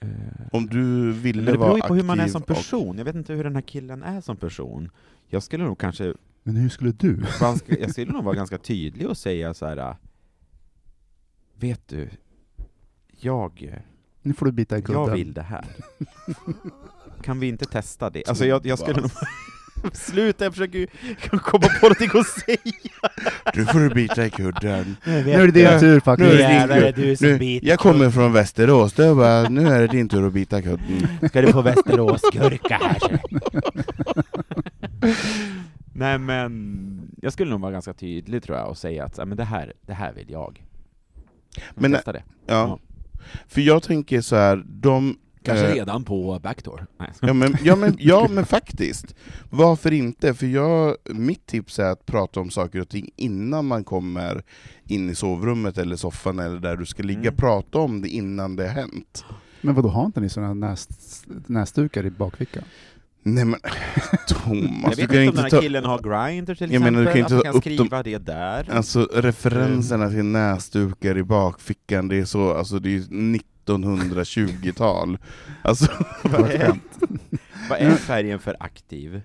Speaker 2: eh,
Speaker 1: Om du ville
Speaker 2: men det
Speaker 1: vara
Speaker 2: beror ju
Speaker 1: aktiv
Speaker 2: på hur man är som
Speaker 1: och-
Speaker 2: person. Jag vet inte hur den här killen är som person. Jag skulle nog kanske
Speaker 3: Men hur skulle du?
Speaker 2: ganska, jag skulle nog vara ganska tydlig och säga så här. äh, Vet du, jag,
Speaker 3: Nu får du bita i kudden.
Speaker 2: jag vill det här. Kan vi inte testa det? Alltså jag, jag skulle nog... Sluta, jag försöker ju komma på någonting att säga!
Speaker 1: Du får du bita i kudden.
Speaker 3: Nu är det din tur
Speaker 1: Nu
Speaker 3: faktiskt.
Speaker 1: är det din tur. Nu, jag kommer från Västerås, det är bara, nu är det din tur att bita kudden.
Speaker 2: Ska du få Västeråsgurka här? Nej men, jag skulle nog vara ganska tydlig tror jag och säga att så här, men det, här, det här vill jag. Kan vi
Speaker 1: Men- eh,
Speaker 2: testa det.
Speaker 1: Ja. För jag tänker så här, de... eh,
Speaker 2: redan på backdoor. Nej.
Speaker 1: Ja men, ja, men, ja men faktiskt. Varför inte? För jag, mitt tips är att prata om saker och ting innan man kommer in i sovrummet eller soffan eller där du ska ligga.
Speaker 2: Mm.
Speaker 1: Prata om det innan det har hänt.
Speaker 3: Men vadå, har inte ni sådana näs, näsdukar i bakfickan?
Speaker 1: Nej men
Speaker 2: Jag
Speaker 1: Thomas, du
Speaker 2: vet
Speaker 1: kan
Speaker 2: inte
Speaker 1: ju
Speaker 2: om den
Speaker 1: inte
Speaker 2: här
Speaker 1: ta...
Speaker 2: killen har grinder till
Speaker 1: Jag
Speaker 2: exempel,
Speaker 1: menar, du kan ju
Speaker 2: att
Speaker 1: inte
Speaker 2: man
Speaker 1: ta
Speaker 2: kan
Speaker 1: upp
Speaker 2: skriva det där.
Speaker 1: Alltså referenserna till näsdukar i bakfickan, det är så, alltså det är ju 1920-tal. Alltså,
Speaker 2: Vad är, vad är färgen för aktiv?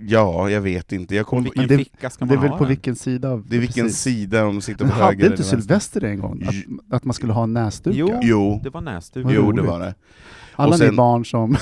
Speaker 1: ja, jag vet inte. Jag
Speaker 2: Och
Speaker 1: kommer
Speaker 2: vilken
Speaker 3: det-
Speaker 2: ficka ska
Speaker 3: det
Speaker 2: man
Speaker 3: är väl
Speaker 2: ha
Speaker 3: på
Speaker 2: den?
Speaker 3: vilken sida? av-
Speaker 1: Det är vilken
Speaker 3: precis.
Speaker 1: sida de sitter
Speaker 3: Men
Speaker 1: på höger
Speaker 3: hade inte
Speaker 1: eller vänster.
Speaker 3: Sylvester det en gång? Att, att man skulle ha näsdukar?
Speaker 2: Jo,
Speaker 1: Jo,
Speaker 2: det var näsduk.
Speaker 3: Vad
Speaker 1: jo det
Speaker 3: roligt.
Speaker 1: var det.
Speaker 3: Alla
Speaker 1: och sen-
Speaker 3: ni barn som...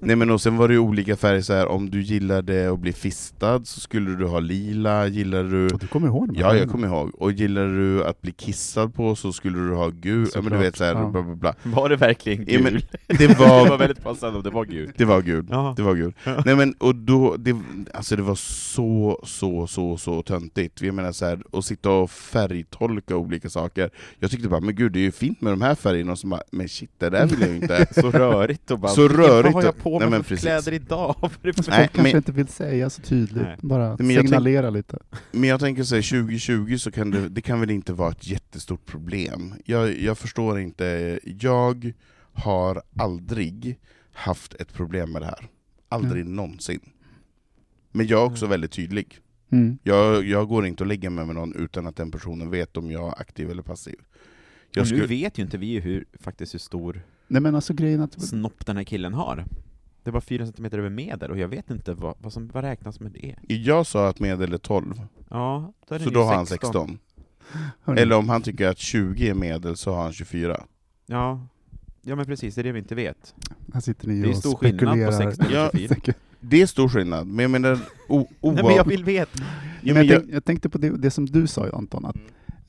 Speaker 1: Nej men och sen var det ju olika färger så här. om du gillade att bli fistad så skulle du ha lila, gillade du...
Speaker 3: Och du kommer ihåg de här
Speaker 1: Ja, jag
Speaker 3: grejerna.
Speaker 1: kommer ihåg. Och gillade du att bli kissad på så skulle du ha gul, ja, men du
Speaker 3: Såklart,
Speaker 1: vet såhär,
Speaker 3: ja.
Speaker 1: bla bla bla.
Speaker 4: Var det verkligen
Speaker 1: Ja,
Speaker 4: gul?
Speaker 1: men-
Speaker 4: det,
Speaker 1: Det
Speaker 4: var...
Speaker 1: var-
Speaker 4: väldigt passande om det var gul.
Speaker 1: Det var gul.
Speaker 2: Jaha.
Speaker 1: Det var gul. Nej men, och då, det, alltså det var så, så, så, så töntigt. Jag menar så här, att sitta och färgtolka olika saker. Jag tyckte bara, men gud det är ju fint med de här färgerna, och så bara, men shit det där vill jag ju inte.
Speaker 2: Så rörigt och bara,
Speaker 1: Så
Speaker 2: "Vilken-
Speaker 1: rörigt
Speaker 2: Vad har jag
Speaker 1: och-
Speaker 2: på
Speaker 1: Nej,
Speaker 2: mig
Speaker 1: men
Speaker 2: för
Speaker 1: precis.
Speaker 2: kläder idag? Vad är det för-
Speaker 1: Nej,
Speaker 3: Folk kanske
Speaker 1: men-
Speaker 3: inte vill säga så tydligt,
Speaker 2: Nej.
Speaker 3: bara
Speaker 1: Men jag tänk-
Speaker 3: signalera lite.
Speaker 1: Men jag tänker säga 2020 så kan det, det kan väl inte vara ett jättestort problem. Jag, jag förstår inte, jag har aldrig haft ett problem med det här. Aldrig någonsin. Men jag är också väldigt tydlig.
Speaker 3: Mm.
Speaker 1: Jag, jag går inte och lägger mig med någon utan att den personen vet om jag är aktiv eller passiv. Jag
Speaker 2: Och Nu
Speaker 1: skulle,
Speaker 2: vet ju inte vi hur, faktiskt hur stor
Speaker 3: Nej men alltså grejen att...
Speaker 2: snopp den här killen har. Det var 4 centimeter över medel, och jag vet inte vad, vad som vad räknas med det.
Speaker 1: jag sa att medel är 12,
Speaker 2: Ja, då är det
Speaker 1: så
Speaker 2: ju
Speaker 1: då har han 16.
Speaker 3: Hörni,
Speaker 1: Eller om han tycker att 20 är medel så har han 24.
Speaker 2: Ja. ja, men precis, det är det vi inte vet.
Speaker 3: här sitter
Speaker 2: Det är
Speaker 3: ni och
Speaker 2: stor skillnad på
Speaker 3: spekulerar.
Speaker 2: 16
Speaker 1: Ja,
Speaker 2: och 24.
Speaker 3: Säkert.
Speaker 1: Det är stor skillnad, men jag menar... O,
Speaker 2: Nej, men jag vill veta!
Speaker 1: Jo,
Speaker 3: men
Speaker 1: men
Speaker 3: jag,
Speaker 1: jag, Mm.
Speaker 3: tänk, jag tänkte på det, det som du sa Anton, att eh,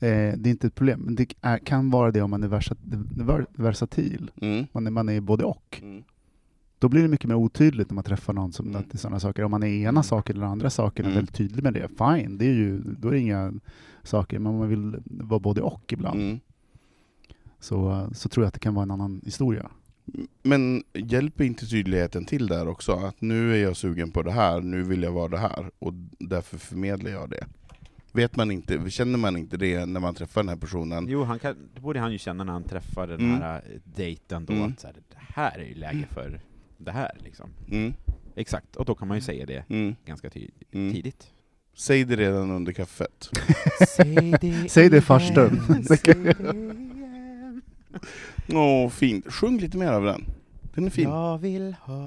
Speaker 3: det är inte ett problem, men det är, kan vara det om man är versat, ver- versatil,
Speaker 1: mm.
Speaker 3: man är, man är både och.
Speaker 1: Mm.
Speaker 3: Då blir det mycket mer otydligt när man träffar någon som
Speaker 1: Mm.
Speaker 3: att det är sådana saker. Om man är ena saker eller andra saker och är
Speaker 1: Mm.
Speaker 3: väldigt tydlig med det, fine, det är ju, då är det inga saker, men om man vill vara både och ibland
Speaker 1: Mm.
Speaker 3: så, så tror jag att det kan vara en annan historia.
Speaker 1: Men hjälper inte tydligheten till där också? Att nu är jag sugen på det här, nu vill jag vara det här, och därför förmedlar jag det. Vet man inte, känner man inte det när man träffar den här personen?
Speaker 2: Jo, han kan, det borde han ju känna när han träffar den
Speaker 1: Mm.
Speaker 2: här eh, dejten då,
Speaker 1: Mm.
Speaker 2: att så här, det här är ju läge för det här liksom.
Speaker 1: Mm.
Speaker 2: Exakt, och då kan man ju säga det
Speaker 1: Mm.
Speaker 2: ganska ty-
Speaker 1: Mm.
Speaker 2: tidigt.
Speaker 1: Säg det redan under kaffet.
Speaker 2: Säg det,
Speaker 3: Säg det
Speaker 2: igen,
Speaker 3: farstun.
Speaker 2: säg det igen.
Speaker 1: Åh, fint. Sjung lite mer av den. Den är fin.
Speaker 2: Jag vill ha...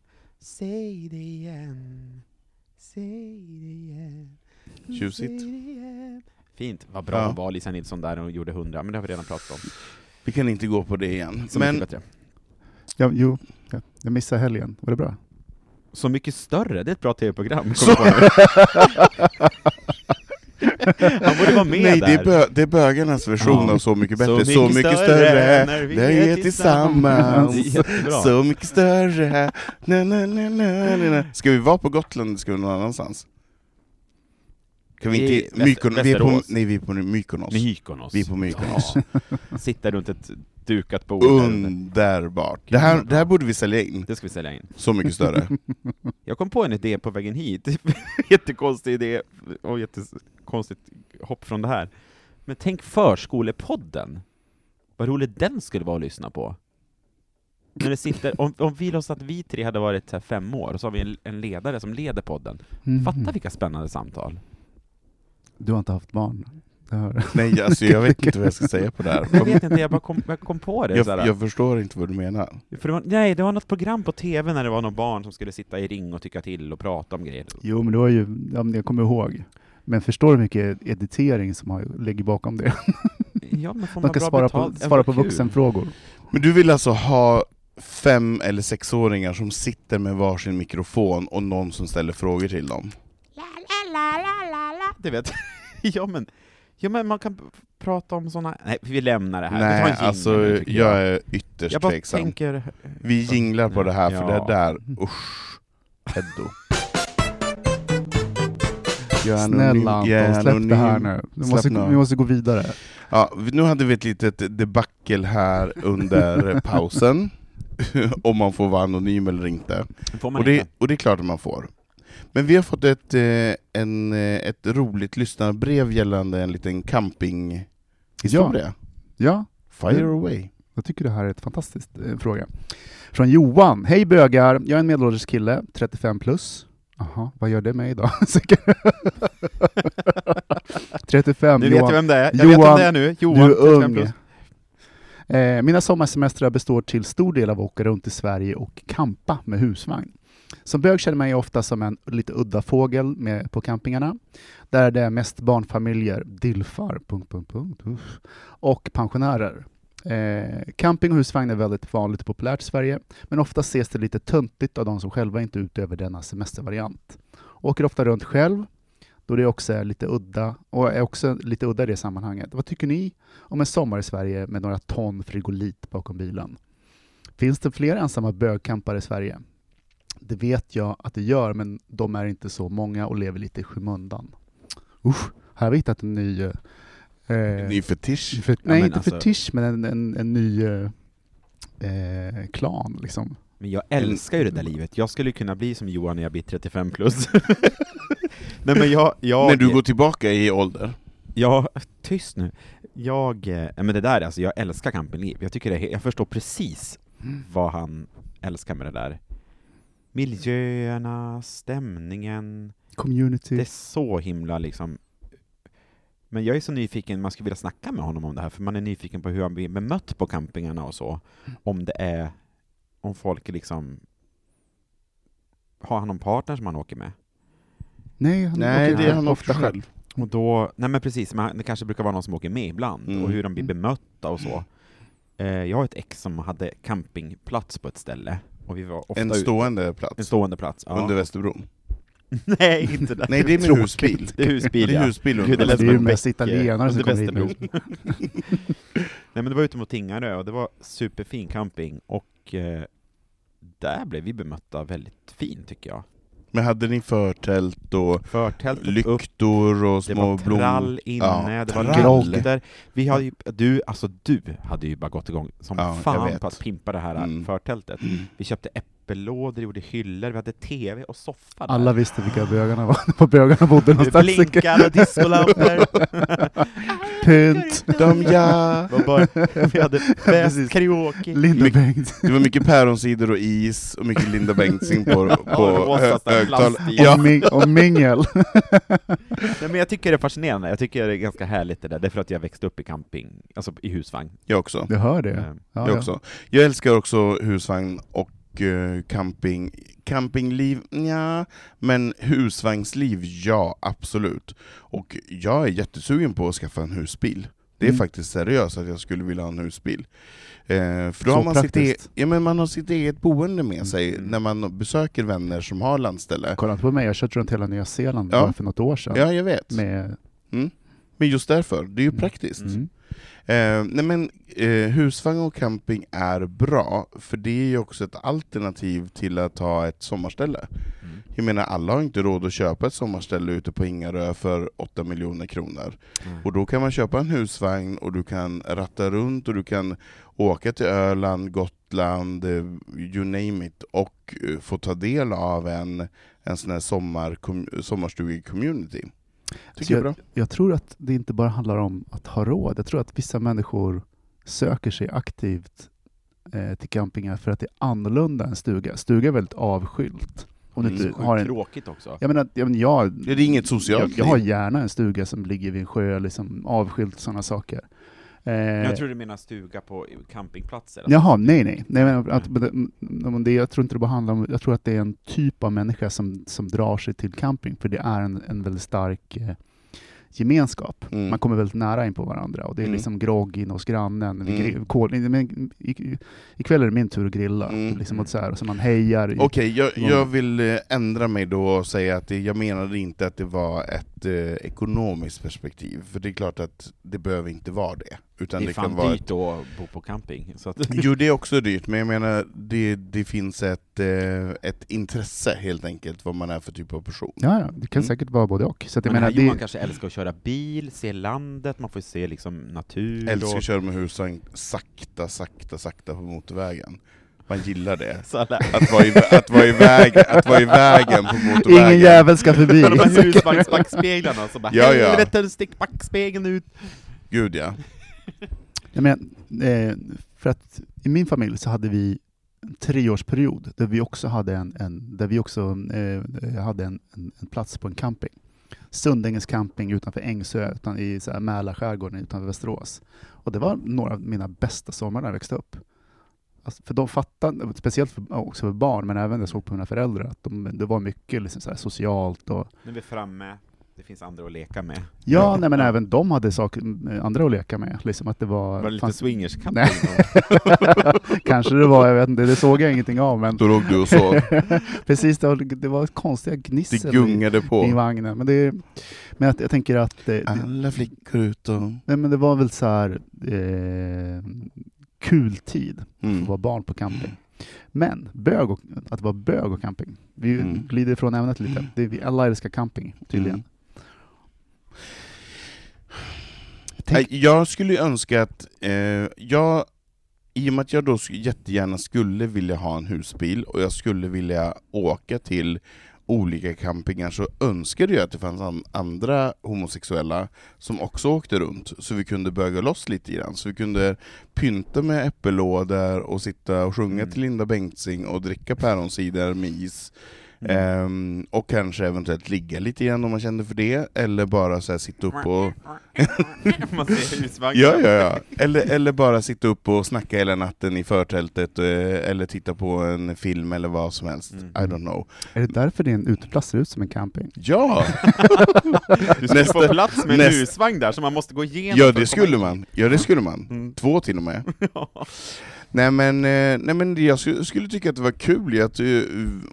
Speaker 2: säg det igen. Säg det igen.
Speaker 1: Tjusigt.
Speaker 2: Säg det igen. Fint, vad bra
Speaker 1: Ja.
Speaker 2: hon var Lisa Nilsson där när hon gjorde 100, men det har vi redan pratat om.
Speaker 1: Vi kan inte gå på det igen.
Speaker 2: Så
Speaker 1: men
Speaker 2: mycket bättre.
Speaker 3: Ja, jo, ja. jag missade helgen, var det bra?
Speaker 2: Så mycket större, det är ett bra tv-program.
Speaker 1: Så-
Speaker 2: kommer jag på nu. Han borde vara med
Speaker 1: Nej,
Speaker 2: där.
Speaker 1: det är, bö- det är bögarnas version
Speaker 2: Ja.
Speaker 1: av Så mycket bättre.
Speaker 2: Så
Speaker 1: Så
Speaker 2: mycket
Speaker 1: mycket,
Speaker 2: större
Speaker 1: större,
Speaker 2: när vi
Speaker 1: när vi
Speaker 2: är
Speaker 1: är tillsammans.
Speaker 2: tillsammans. Det är jättebra.
Speaker 1: så mycket större, na, na, na, na, na, na. Ska vi vara på Gotland eller ska vi någon annanstans? Kan vi
Speaker 2: I
Speaker 1: inte...
Speaker 2: Väster-
Speaker 1: Mykon, vi är på,
Speaker 2: Västerås.
Speaker 1: nej, vi är på Mykonos.
Speaker 2: Mykonos.
Speaker 1: Vi är på Mykonos.
Speaker 2: Ja. Sitta runt ett dukat bord. där ute.
Speaker 1: Underbart! Det här, det här borde vi sälja in,
Speaker 2: Det ska vi sälja in.
Speaker 1: så mycket större.
Speaker 2: Jag kom på en idé på vägen hit. Jättekonstig idé och jättekonstigt hopp från det här. Men tänk förskolepodden. Vad rolig den skulle vara att lyssna på. När det sitter, om, om vi låtsas att vi tre hade varit så här fem år, och så har vi en, en ledare som leder podden.
Speaker 1: Mm-hmm. Mm.
Speaker 3: Mhm.
Speaker 2: Fatta vilka spännande samtal.
Speaker 3: Du har inte haft barn? Det har...
Speaker 1: Nej, alltså jag vet inte vad jag ska säga på det här.
Speaker 2: Jag vet inte, jag bara kom, jag kom på det.
Speaker 1: Jag,
Speaker 2: såhär.
Speaker 1: jag förstår inte vad du menar.
Speaker 2: För det var, nej, det var något program på TV när det var någon barn som skulle sitta i ring och tycka till och prata om grejer.
Speaker 3: Jo, men det var ju, ja, men jag kommer ihåg. Men förstår du hur mycket editering som har, ligger bakom
Speaker 1: Mm,
Speaker 3: det?
Speaker 2: Ja, men får
Speaker 3: De
Speaker 2: man
Speaker 3: kan
Speaker 2: bra
Speaker 3: svara på,
Speaker 2: betalt? Ja,
Speaker 3: svara
Speaker 2: vad
Speaker 3: på
Speaker 2: kul.
Speaker 3: vuxenfrågor.
Speaker 1: Men du vill alltså ha fem eller sexåringar som sitter med varsin mikrofon och någon som ställer frågor till dem?
Speaker 2: Du vet. ja, men, ja, men man kan p- prata om sådana... Nej, vi lämnar Äh, det här. vi tar
Speaker 1: Nej,
Speaker 2: en jingle
Speaker 1: alltså
Speaker 2: nu,
Speaker 1: jag.
Speaker 2: tycker jag.
Speaker 1: är ytterst
Speaker 2: jag bara
Speaker 1: tveksam.
Speaker 2: tänker...
Speaker 1: Vi jinglar på det här, för
Speaker 2: Ja.
Speaker 1: det där, usch, Eddo. Jag är anonym.
Speaker 3: Snälla
Speaker 1: Jag är
Speaker 3: Anton, släpp det
Speaker 1: anonym.
Speaker 3: här nu. Vi
Speaker 1: Slappna
Speaker 3: måste,
Speaker 1: av.
Speaker 3: vi måste gå vidare.
Speaker 1: Ja, vi- nu hade vi ett litet debacle här under pausen, om man får vara anonym eller inte.
Speaker 2: Får man
Speaker 1: Och det,
Speaker 2: inte?
Speaker 1: och det är klart att man får. Men vi har fått ett, eh, en, eh, ett roligt lyssnarbrev gällande en liten campinghistoria.
Speaker 3: Ja,
Speaker 2: Mm.
Speaker 1: Fire away.
Speaker 3: Jag tycker det här är ett fantastiskt eh, fråga. Från Johan. Hej bögar! Jag är en medelålders kille, 35 plus. Aha, vad gör det med idag? 35,
Speaker 2: Du
Speaker 3: Johan.
Speaker 2: vet vem det är. Jag vet vem
Speaker 3: Johan,
Speaker 2: det är nu. Johan,
Speaker 3: du är
Speaker 2: 35
Speaker 3: ung. Eh, mina sommarsemestrar består till stor del av att åka runt i Sverige och kampa med husvagn. Som bög känner man ju ofta som en lite udda fågel med, på campingarna. Där det är mest barnfamiljer, dilfar, punkt, punkt, punkt, uff, och pensionärer. Eh, camping och husvagn är väldigt vanligt och populärt i Sverige, men ofta ses det lite töntigt av de som själva inte utöver denna semestervariant. Åker ofta runt själv, då det också är lite udda, och är också lite udda i det sammanhanget. Vad tycker ni om en sommar i Sverige med några ton frigolit bakom bilen. Finns det fler ensamma bögkampare i Sverige? Det vet jag att det gör, men de är inte så många och lever lite i skymundan. Usch, här har vi hittat en ny... Eh,
Speaker 1: Ny fetisch.
Speaker 3: för, nej,
Speaker 2: men
Speaker 3: inte
Speaker 2: alltså-
Speaker 3: fetisch, men en, en, en ny eh, eh, klan. Liksom.
Speaker 2: Men jag älskar ju det där livet. Jag skulle kunna bli som Johan när jag blir 35 plus. Nej men jag... jag
Speaker 1: När du går tillbaka i
Speaker 2: Mm,
Speaker 1: ålder.
Speaker 2: Ja, tyst nu. Jag, eh, men det där alltså, jag älskar campingliv. Jag tycker det, är- jag förstår precis vad han älskar med det där. Miljöerna, stämningen,
Speaker 3: Community.
Speaker 2: det är så himla liksom men jag är så nyfiken, man skulle vilja snacka med honom om det här, för man är nyfiken på hur han blir bemött på campingarna och så. Om det är, om folk är liksom, har han någon partner som han åker med?
Speaker 3: nej, han
Speaker 1: Nej,
Speaker 3: åker
Speaker 1: det är
Speaker 3: runt
Speaker 1: han
Speaker 3: och
Speaker 1: ofta själv.
Speaker 2: Och då, nej men precis, men det kanske brukar vara någon som åker med ibland,
Speaker 1: Mm.
Speaker 2: och hur de blir
Speaker 3: Mm.
Speaker 2: bemötta och så. Eh, jag har ett ex som hade campingplats på ett ställe, och vi var ofta
Speaker 1: En
Speaker 2: ut-
Speaker 1: stående plats.
Speaker 2: en stående plats. Ja.
Speaker 1: Under Västerbron.
Speaker 2: nej, inte där.
Speaker 1: Nej, det är min
Speaker 2: Tråkigt.
Speaker 1: husbil.
Speaker 2: Det är husbil,
Speaker 1: Det är
Speaker 2: ja.
Speaker 1: husbil
Speaker 2: Gud,
Speaker 1: under
Speaker 2: lät
Speaker 3: Det
Speaker 2: som
Speaker 3: är ju
Speaker 2: en
Speaker 3: mest
Speaker 2: bäck, eh,
Speaker 3: italienare som
Speaker 2: under
Speaker 3: kommer hit med
Speaker 2: Västerbro. Nej men det var ute mot Tingarö, och det var superfin camping, och eh, där blev vi bemötta väldigt fint tycker jag.
Speaker 1: Men hade ni förtält och
Speaker 2: Förtältet upp,
Speaker 1: lyktor och
Speaker 2: det
Speaker 1: små
Speaker 2: var
Speaker 1: blommor?
Speaker 2: trall inne,
Speaker 1: Ja,
Speaker 2: det var
Speaker 1: trall.
Speaker 2: grogg. Vi hade ju, du, alltså du hade ju bara gått igång som
Speaker 1: Ja, jag
Speaker 2: fan
Speaker 1: vet.
Speaker 2: på att pimpa det här
Speaker 1: Mm.
Speaker 2: förtältet.
Speaker 1: Mm.
Speaker 2: Vi köpte äppellådor, gjorde hyllor, vi hade tv och soffa där.
Speaker 3: Alla visste vilka bögarna var, var bögarna bodde
Speaker 2: det
Speaker 3: någonstans.
Speaker 2: blinkade och diskolampor.
Speaker 3: Pynt,
Speaker 1: De ja!
Speaker 2: Det var bara- vi hade
Speaker 3: Precis.
Speaker 2: fest, karaoke.
Speaker 3: Linda
Speaker 1: Mycket-
Speaker 3: Bengt.
Speaker 1: Det var mycket päronsidor och is och mycket Linda Bengtzing på, på
Speaker 2: rosa
Speaker 1: hö-
Speaker 2: sån här
Speaker 1: högtal.
Speaker 2: plastik.
Speaker 3: och,
Speaker 1: Ja.
Speaker 3: ming- och mingel.
Speaker 2: Nej, men jag tycker det är fascinerande, jag tycker det är ganska härligt det där, därför att jag växte upp i camping, alltså i husvagn.
Speaker 1: Jag också.
Speaker 3: Du hör det?
Speaker 2: Eh,
Speaker 3: Ja,
Speaker 1: Jag,
Speaker 3: ja.
Speaker 1: också. jag älskar också husvagn och eh, camping. Campingliv, ja, Men husvagnsliv, ja absolut. Och jag är jättesugen på att skaffa en husbil. Det är
Speaker 3: Mm.
Speaker 1: faktiskt seriöst att jag skulle vilja ha en husbil. Eh, för då
Speaker 3: Så
Speaker 1: har man sitt, e-
Speaker 3: praktiskt.
Speaker 1: ja, men man har sitt eget boende med sig
Speaker 2: Mm.
Speaker 1: när man besöker vänner som har landställe.
Speaker 3: Kolla inte på mig, jag har kört runt hela Nya Zeeland
Speaker 1: Ja.
Speaker 3: bara för något år sedan.
Speaker 1: Ja, jag vet.
Speaker 3: Med,
Speaker 1: Men just därför, det är ju praktiskt.
Speaker 3: mm.
Speaker 1: Eh, nej men, eh, husvagn och camping
Speaker 3: Mm.
Speaker 1: är bra, för det är ju också ett alternativ till att ha ett sommarställe. Jag menar, alla har inte råd att köpa ett sommarställe ute på Ingarö för 8 miljoner kronor.
Speaker 3: Mm.
Speaker 1: Och då kan man köpa en husvagn och du kan ratta runt och du kan åka till Öland, Gotland, eh, you name it, och eh, få ta del av en, en sån här sommar, sommarstuge-community. Tycker jag är
Speaker 3: jag,
Speaker 1: bra.
Speaker 3: jag tror att det inte bara handlar om att ha råd. Jag tror att vissa människor söker sig aktivt eh, till campingar för att det är annorlunda än stuga. Stuga är väldigt avskilt. Om du
Speaker 1: Mm,
Speaker 3: inte
Speaker 1: sjukt
Speaker 3: har en,
Speaker 2: Tråkigt också.
Speaker 3: jag menar, jag, menar, jag,
Speaker 1: Det är inget
Speaker 3: jag,
Speaker 1: socialt
Speaker 3: jag har
Speaker 1: liv.
Speaker 3: gärna en stuga som ligger vid en sjö, liksom avskilt och sådana saker. Eh,
Speaker 2: Jag tror du menar stuga på campingplatser.
Speaker 3: Jaha, nej nej. nej men att, men det- men det, jag tror inte det bara handlar om, jag tror att det är en typ av människa som, som drar sig till camping, för det är en, en väldigt stark eh, gemenskap.
Speaker 1: Mm.
Speaker 3: Man kommer väldigt nära in på varandra och det är
Speaker 1: Mm.
Speaker 3: liksom grogg in hos grannen. Vi
Speaker 1: Mm.
Speaker 3: grill, kol, nej, men, i, ikväll är det min tur att grilla.
Speaker 1: Mm.
Speaker 3: Liksom, och så, här, och så man hejar. i-
Speaker 1: Okej,
Speaker 3: Ja.
Speaker 1: jag, jag vill eh, ändra mig då och säga att det, jag menade inte att det var ett eh, ekonomiskt perspektiv, för det är klart att det behöver inte vara det. Utan
Speaker 2: Det
Speaker 1: det,
Speaker 2: är
Speaker 1: kan
Speaker 2: fan
Speaker 1: vara
Speaker 2: dyrt att bo på camping. Så att,
Speaker 1: Jo, det är också dyrt, men jag menar, det, det finns ett, eh, ett intresse helt enkelt, vad man är för typ av person.
Speaker 3: Ja, ja, det kan
Speaker 1: Mm.
Speaker 3: säkert vara både och. Så att jag
Speaker 2: men
Speaker 3: menar,
Speaker 2: här, Johan
Speaker 3: det,
Speaker 2: kanske älskar att köra bil, se landet, man får ju se liksom natur.
Speaker 1: Älskar
Speaker 2: och-
Speaker 1: att köra med husvagn sakta, sakta, sakta på motorvägen. Man gillar det.
Speaker 2: Så alla-
Speaker 1: Att vara i, att vara i, väg, att vara i vägen på motorvägen.
Speaker 3: ingen jävel ska förbi.
Speaker 2: de här husvagnsbackspeglarna som bara
Speaker 1: Ja, ja.
Speaker 2: ”Helvete, stick backspegeln ut!”
Speaker 1: Gud ja.
Speaker 3: Jag menar, eh, för att i min familj så hade vi en treårsperiod där vi också hade en, en, där vi också, eh, hade en, en, en plats på en camping. Sundängens camping utanför Ängsö utan i så här Mälarskärgården utanför Västerås. Och det var några av mina bästa somrar när jag växte upp. Alltså, för de fattade, speciellt för, också för barn, men även jag såg på mina föräldrar, att de, det var mycket liksom så här socialt och
Speaker 2: Nu är vi framme, det finns andra att leka med.
Speaker 3: Ja, nej, men även de hade saker, eh, andra att leka med. Liksom att det var,
Speaker 2: Var det lite
Speaker 3: fanns-
Speaker 2: swingers camping?
Speaker 3: Nej. Kanske det var, jag vet inte, det såg jag ingenting av. Men
Speaker 1: Då låg du och sov.
Speaker 3: precis, det var, det var konstiga gnissel
Speaker 1: Det
Speaker 3: i,
Speaker 1: gungade
Speaker 3: i
Speaker 1: på.
Speaker 3: vagnen. Men, det, men att, jag tänker att eh, det,
Speaker 1: Alla flickor utom...
Speaker 3: nej, men det var väl så här eh, kul tid att
Speaker 1: Mm.
Speaker 3: vara barn på camping. Men bög och, att vara bög och camping, vi
Speaker 1: Mm.
Speaker 3: glider ifrån ämnet lite. Det, vi alla älskar camping tydligen.
Speaker 1: Mm. Nej, Jag skulle ju önska att, eh, jag, i och med att jag då sk- jättegärna skulle vilja ha en husbil och jag skulle vilja åka till olika campingar så önskade jag att det fanns an- andra homosexuella som också åkte runt, så vi kunde böga loss lite grann. Så vi kunde pynta med äppellådor och sitta och sjunga
Speaker 2: Mm.
Speaker 1: till Linda Bengtzing och dricka päronsider med is. Ehm, och kanske eventuellt ligga lite grann om man kände för det, eller bara så här sitta upp och...
Speaker 2: Man ser husvagnen.
Speaker 1: Ja, ja, ja. Eller, eller bara sitta upp och snacka hela natten i förtältet, eh, eller titta på en film eller vad som helst.
Speaker 2: Mm.
Speaker 1: I don't know.
Speaker 3: Är det därför din uteplats ser ut som en camping?
Speaker 1: Ja!
Speaker 2: Du skulle
Speaker 1: Nästa-
Speaker 2: få plats med en
Speaker 1: nästa-
Speaker 2: husvagn där som man måste gå igenom
Speaker 1: Ja
Speaker 2: för
Speaker 1: det
Speaker 2: att komma
Speaker 1: skulle
Speaker 2: in.
Speaker 1: man, ja det skulle man.
Speaker 2: Mm.
Speaker 1: Två till och med.
Speaker 2: Ja.
Speaker 1: Nej men, eh, nej, men jag sku- skulle tycka att det var kul, att, eh,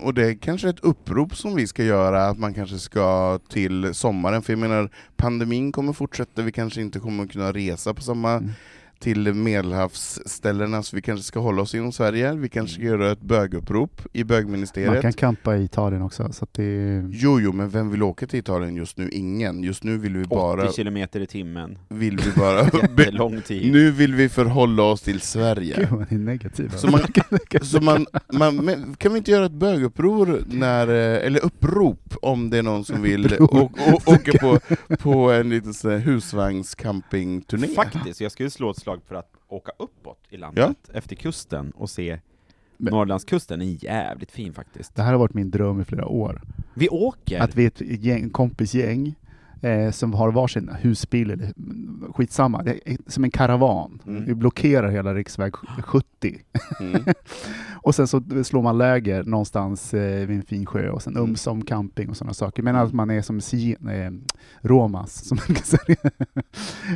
Speaker 1: och det är kanske ett upprop som vi ska göra, att man kanske ska till sommaren, för jag menar pandemin kommer fortsätta, vi kanske inte kommer kunna resa på samma
Speaker 3: Mm.
Speaker 1: till medelhavsställena, så vi kanske ska hålla oss inom Sverige, vi kanske ska
Speaker 2: Mm.
Speaker 1: göra ett bögupprop i
Speaker 3: Man
Speaker 1: bögministeriet.
Speaker 3: kan campa i Italien också. Så att det,
Speaker 1: Jo, jo, men vem vill åka till Italien just nu? Ingen. Just nu vill vi
Speaker 2: 80
Speaker 1: bara...
Speaker 2: kilometer i timmen,
Speaker 1: Vill vi bara
Speaker 2: jättelång tid.
Speaker 1: nu vill vi förhålla oss till Sverige.
Speaker 3: Gud vad ni är negativa.
Speaker 1: Så man, så man, man men kan vi inte göra ett böguppror, när, eh, eller upprop, om det är någon som vill å,
Speaker 3: Uppror.
Speaker 1: å, åka på, på en liten sån här husvagnscampingturné?
Speaker 2: Faktiskt, jag skulle slå ett slag för att åka uppåt i landet, efter kusten, och se
Speaker 3: Men-
Speaker 2: Norrlandskusten är jävligt fin faktiskt.
Speaker 3: Det här har varit min dröm i flera år.
Speaker 2: Vi åker!
Speaker 3: Att vi är ett gäng, kompisgäng eh, som har varsin husbil, eller skitsamma, det är som en karavan.
Speaker 1: Mm.
Speaker 3: Vi blockerar hela riksväg 70.
Speaker 1: Mm.
Speaker 3: Och sen så slår man läger någonstans eh, vid en fin sjö och sen ömsom camping och sådana saker. Men att man är som si, eh, Romas, som man kan säga,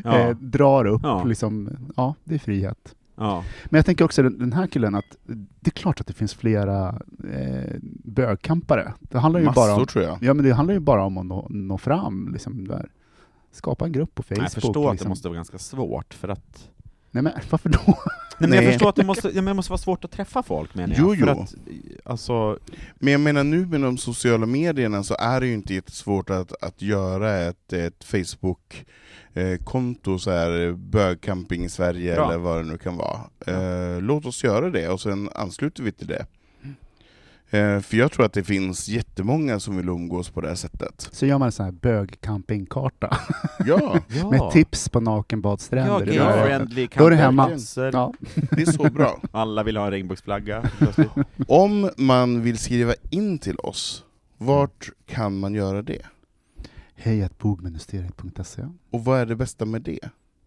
Speaker 2: Ja.
Speaker 3: eh, drar upp
Speaker 2: Ja.
Speaker 3: liksom, ja det är frihet.
Speaker 2: Ja.
Speaker 3: Men jag tänker också den den här killen att det är klart att det finns flera eh, bögkampare. Det handlar ju bara
Speaker 1: Massor
Speaker 3: om,
Speaker 1: tror jag.
Speaker 3: ja, men det handlar ju bara om att nå, nå fram. Liksom, där. Skapa en grupp på Facebook.
Speaker 2: Jag förstår att
Speaker 3: liksom.
Speaker 2: det måste vara ganska svårt, för att
Speaker 3: Nej men varför då?
Speaker 2: Nej, men jag
Speaker 1: Nej.
Speaker 2: förstår att det måste, ja, men det måste vara svårt att träffa folk menar jag.
Speaker 1: Jo, jo.
Speaker 2: För att, alltså,
Speaker 1: Men jag menar nu med de sociala medierna så är det ju inte jättesvårt att, att göra ett, ett Facebook eh, konto så här bögcamping Sverige
Speaker 2: Bra.
Speaker 1: eller vad det nu kan vara. Eh, låt oss göra det och sen ansluter vi till det. Eh, för jag tror att det finns jättemånga som vill umgås på det här sättet.
Speaker 3: Så gör man en sån här bögcampingkarta
Speaker 1: Ja,
Speaker 2: ja.
Speaker 3: med tips på
Speaker 2: Ja,
Speaker 3: nakenbadstränder.
Speaker 1: gay
Speaker 3: ja,
Speaker 2: gay-friendly
Speaker 3: Då är det hemma.
Speaker 2: campingplatser.
Speaker 3: ja.
Speaker 1: det är så bra.
Speaker 2: Alla vill ha en regnbågsflagga.
Speaker 1: Om man vill skriva in till oss, vart kan man göra det?
Speaker 3: Hej att bogministeriet.se.
Speaker 1: Och vad är det bästa med det?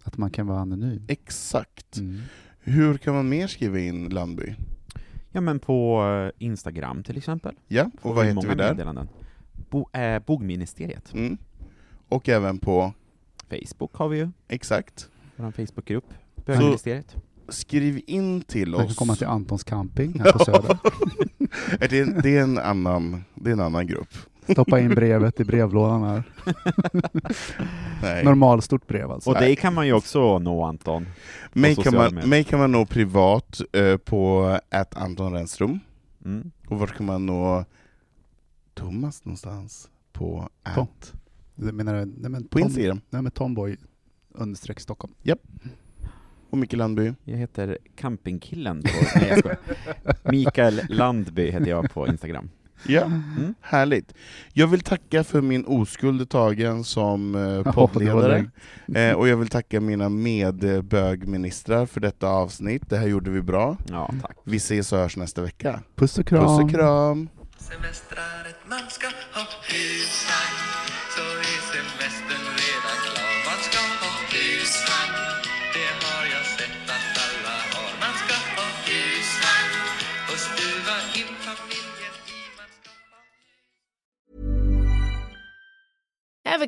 Speaker 3: Att man kan vara anonym.
Speaker 1: Exakt.
Speaker 3: Mm.
Speaker 1: Hur kan man mer skriva in Landby?
Speaker 2: Ja men på eh, Instagram till exempel.
Speaker 1: Ja,
Speaker 2: Får
Speaker 1: och vad
Speaker 2: vi
Speaker 1: heter
Speaker 2: många
Speaker 1: vi där?
Speaker 2: Meddelanden. Bo, eh, Bogministeriet.
Speaker 1: Mm. Och även på,
Speaker 2: Facebook har vi ju,
Speaker 1: exakt,
Speaker 2: vår Facebookgrupp. Bögministeriet.
Speaker 1: skriv in till
Speaker 3: Man kan
Speaker 1: oss.
Speaker 3: komma till Antons camping här på Söder.
Speaker 1: Eh, Det är, det är, en, annan, det är en annan grupp.
Speaker 3: Stoppa in brevet i brevlådan här.
Speaker 1: Nej.
Speaker 3: Normalstort brev alltså.
Speaker 2: Och dig kan man ju också nå Anton.
Speaker 1: Mig,
Speaker 2: på
Speaker 1: kan
Speaker 2: sociala
Speaker 1: man,
Speaker 2: medier.
Speaker 1: mig kan man nå privat eh, på att Anton Renström.
Speaker 2: Mm.
Speaker 1: Och vart kan man nå Thomas någonstans? På
Speaker 3: Tom.
Speaker 1: att,
Speaker 3: Du menar, nej men
Speaker 1: på
Speaker 3: Tom,
Speaker 1: Instagram.
Speaker 3: nej men Tomboy understreck Stockholm.
Speaker 1: Och Micke Landby.
Speaker 2: Jag heter Campingkillen på... Nej, jag skojar. Mikael Landby heter jag på Instagram.
Speaker 1: Ja, härligt. Jag vill tacka för min oskuld i tagen som eh,
Speaker 3: Ja,
Speaker 1: poddledare, eh, och jag vill tacka mina medbögministrar för detta avsnitt. Det här gjorde vi bra.
Speaker 2: Ja, tack.
Speaker 1: Vi ses och hörs nästa vecka.
Speaker 3: Puss och
Speaker 1: Puss
Speaker 3: kram.
Speaker 1: och kram!
Speaker 5: Semestrar ett man ska ha husvagn Så är semestern redan klar Man ska ha husvagn Det har jag sett att alla har Man ska ha husvagn Och stuva in familjen i man ska ha
Speaker 6: Ever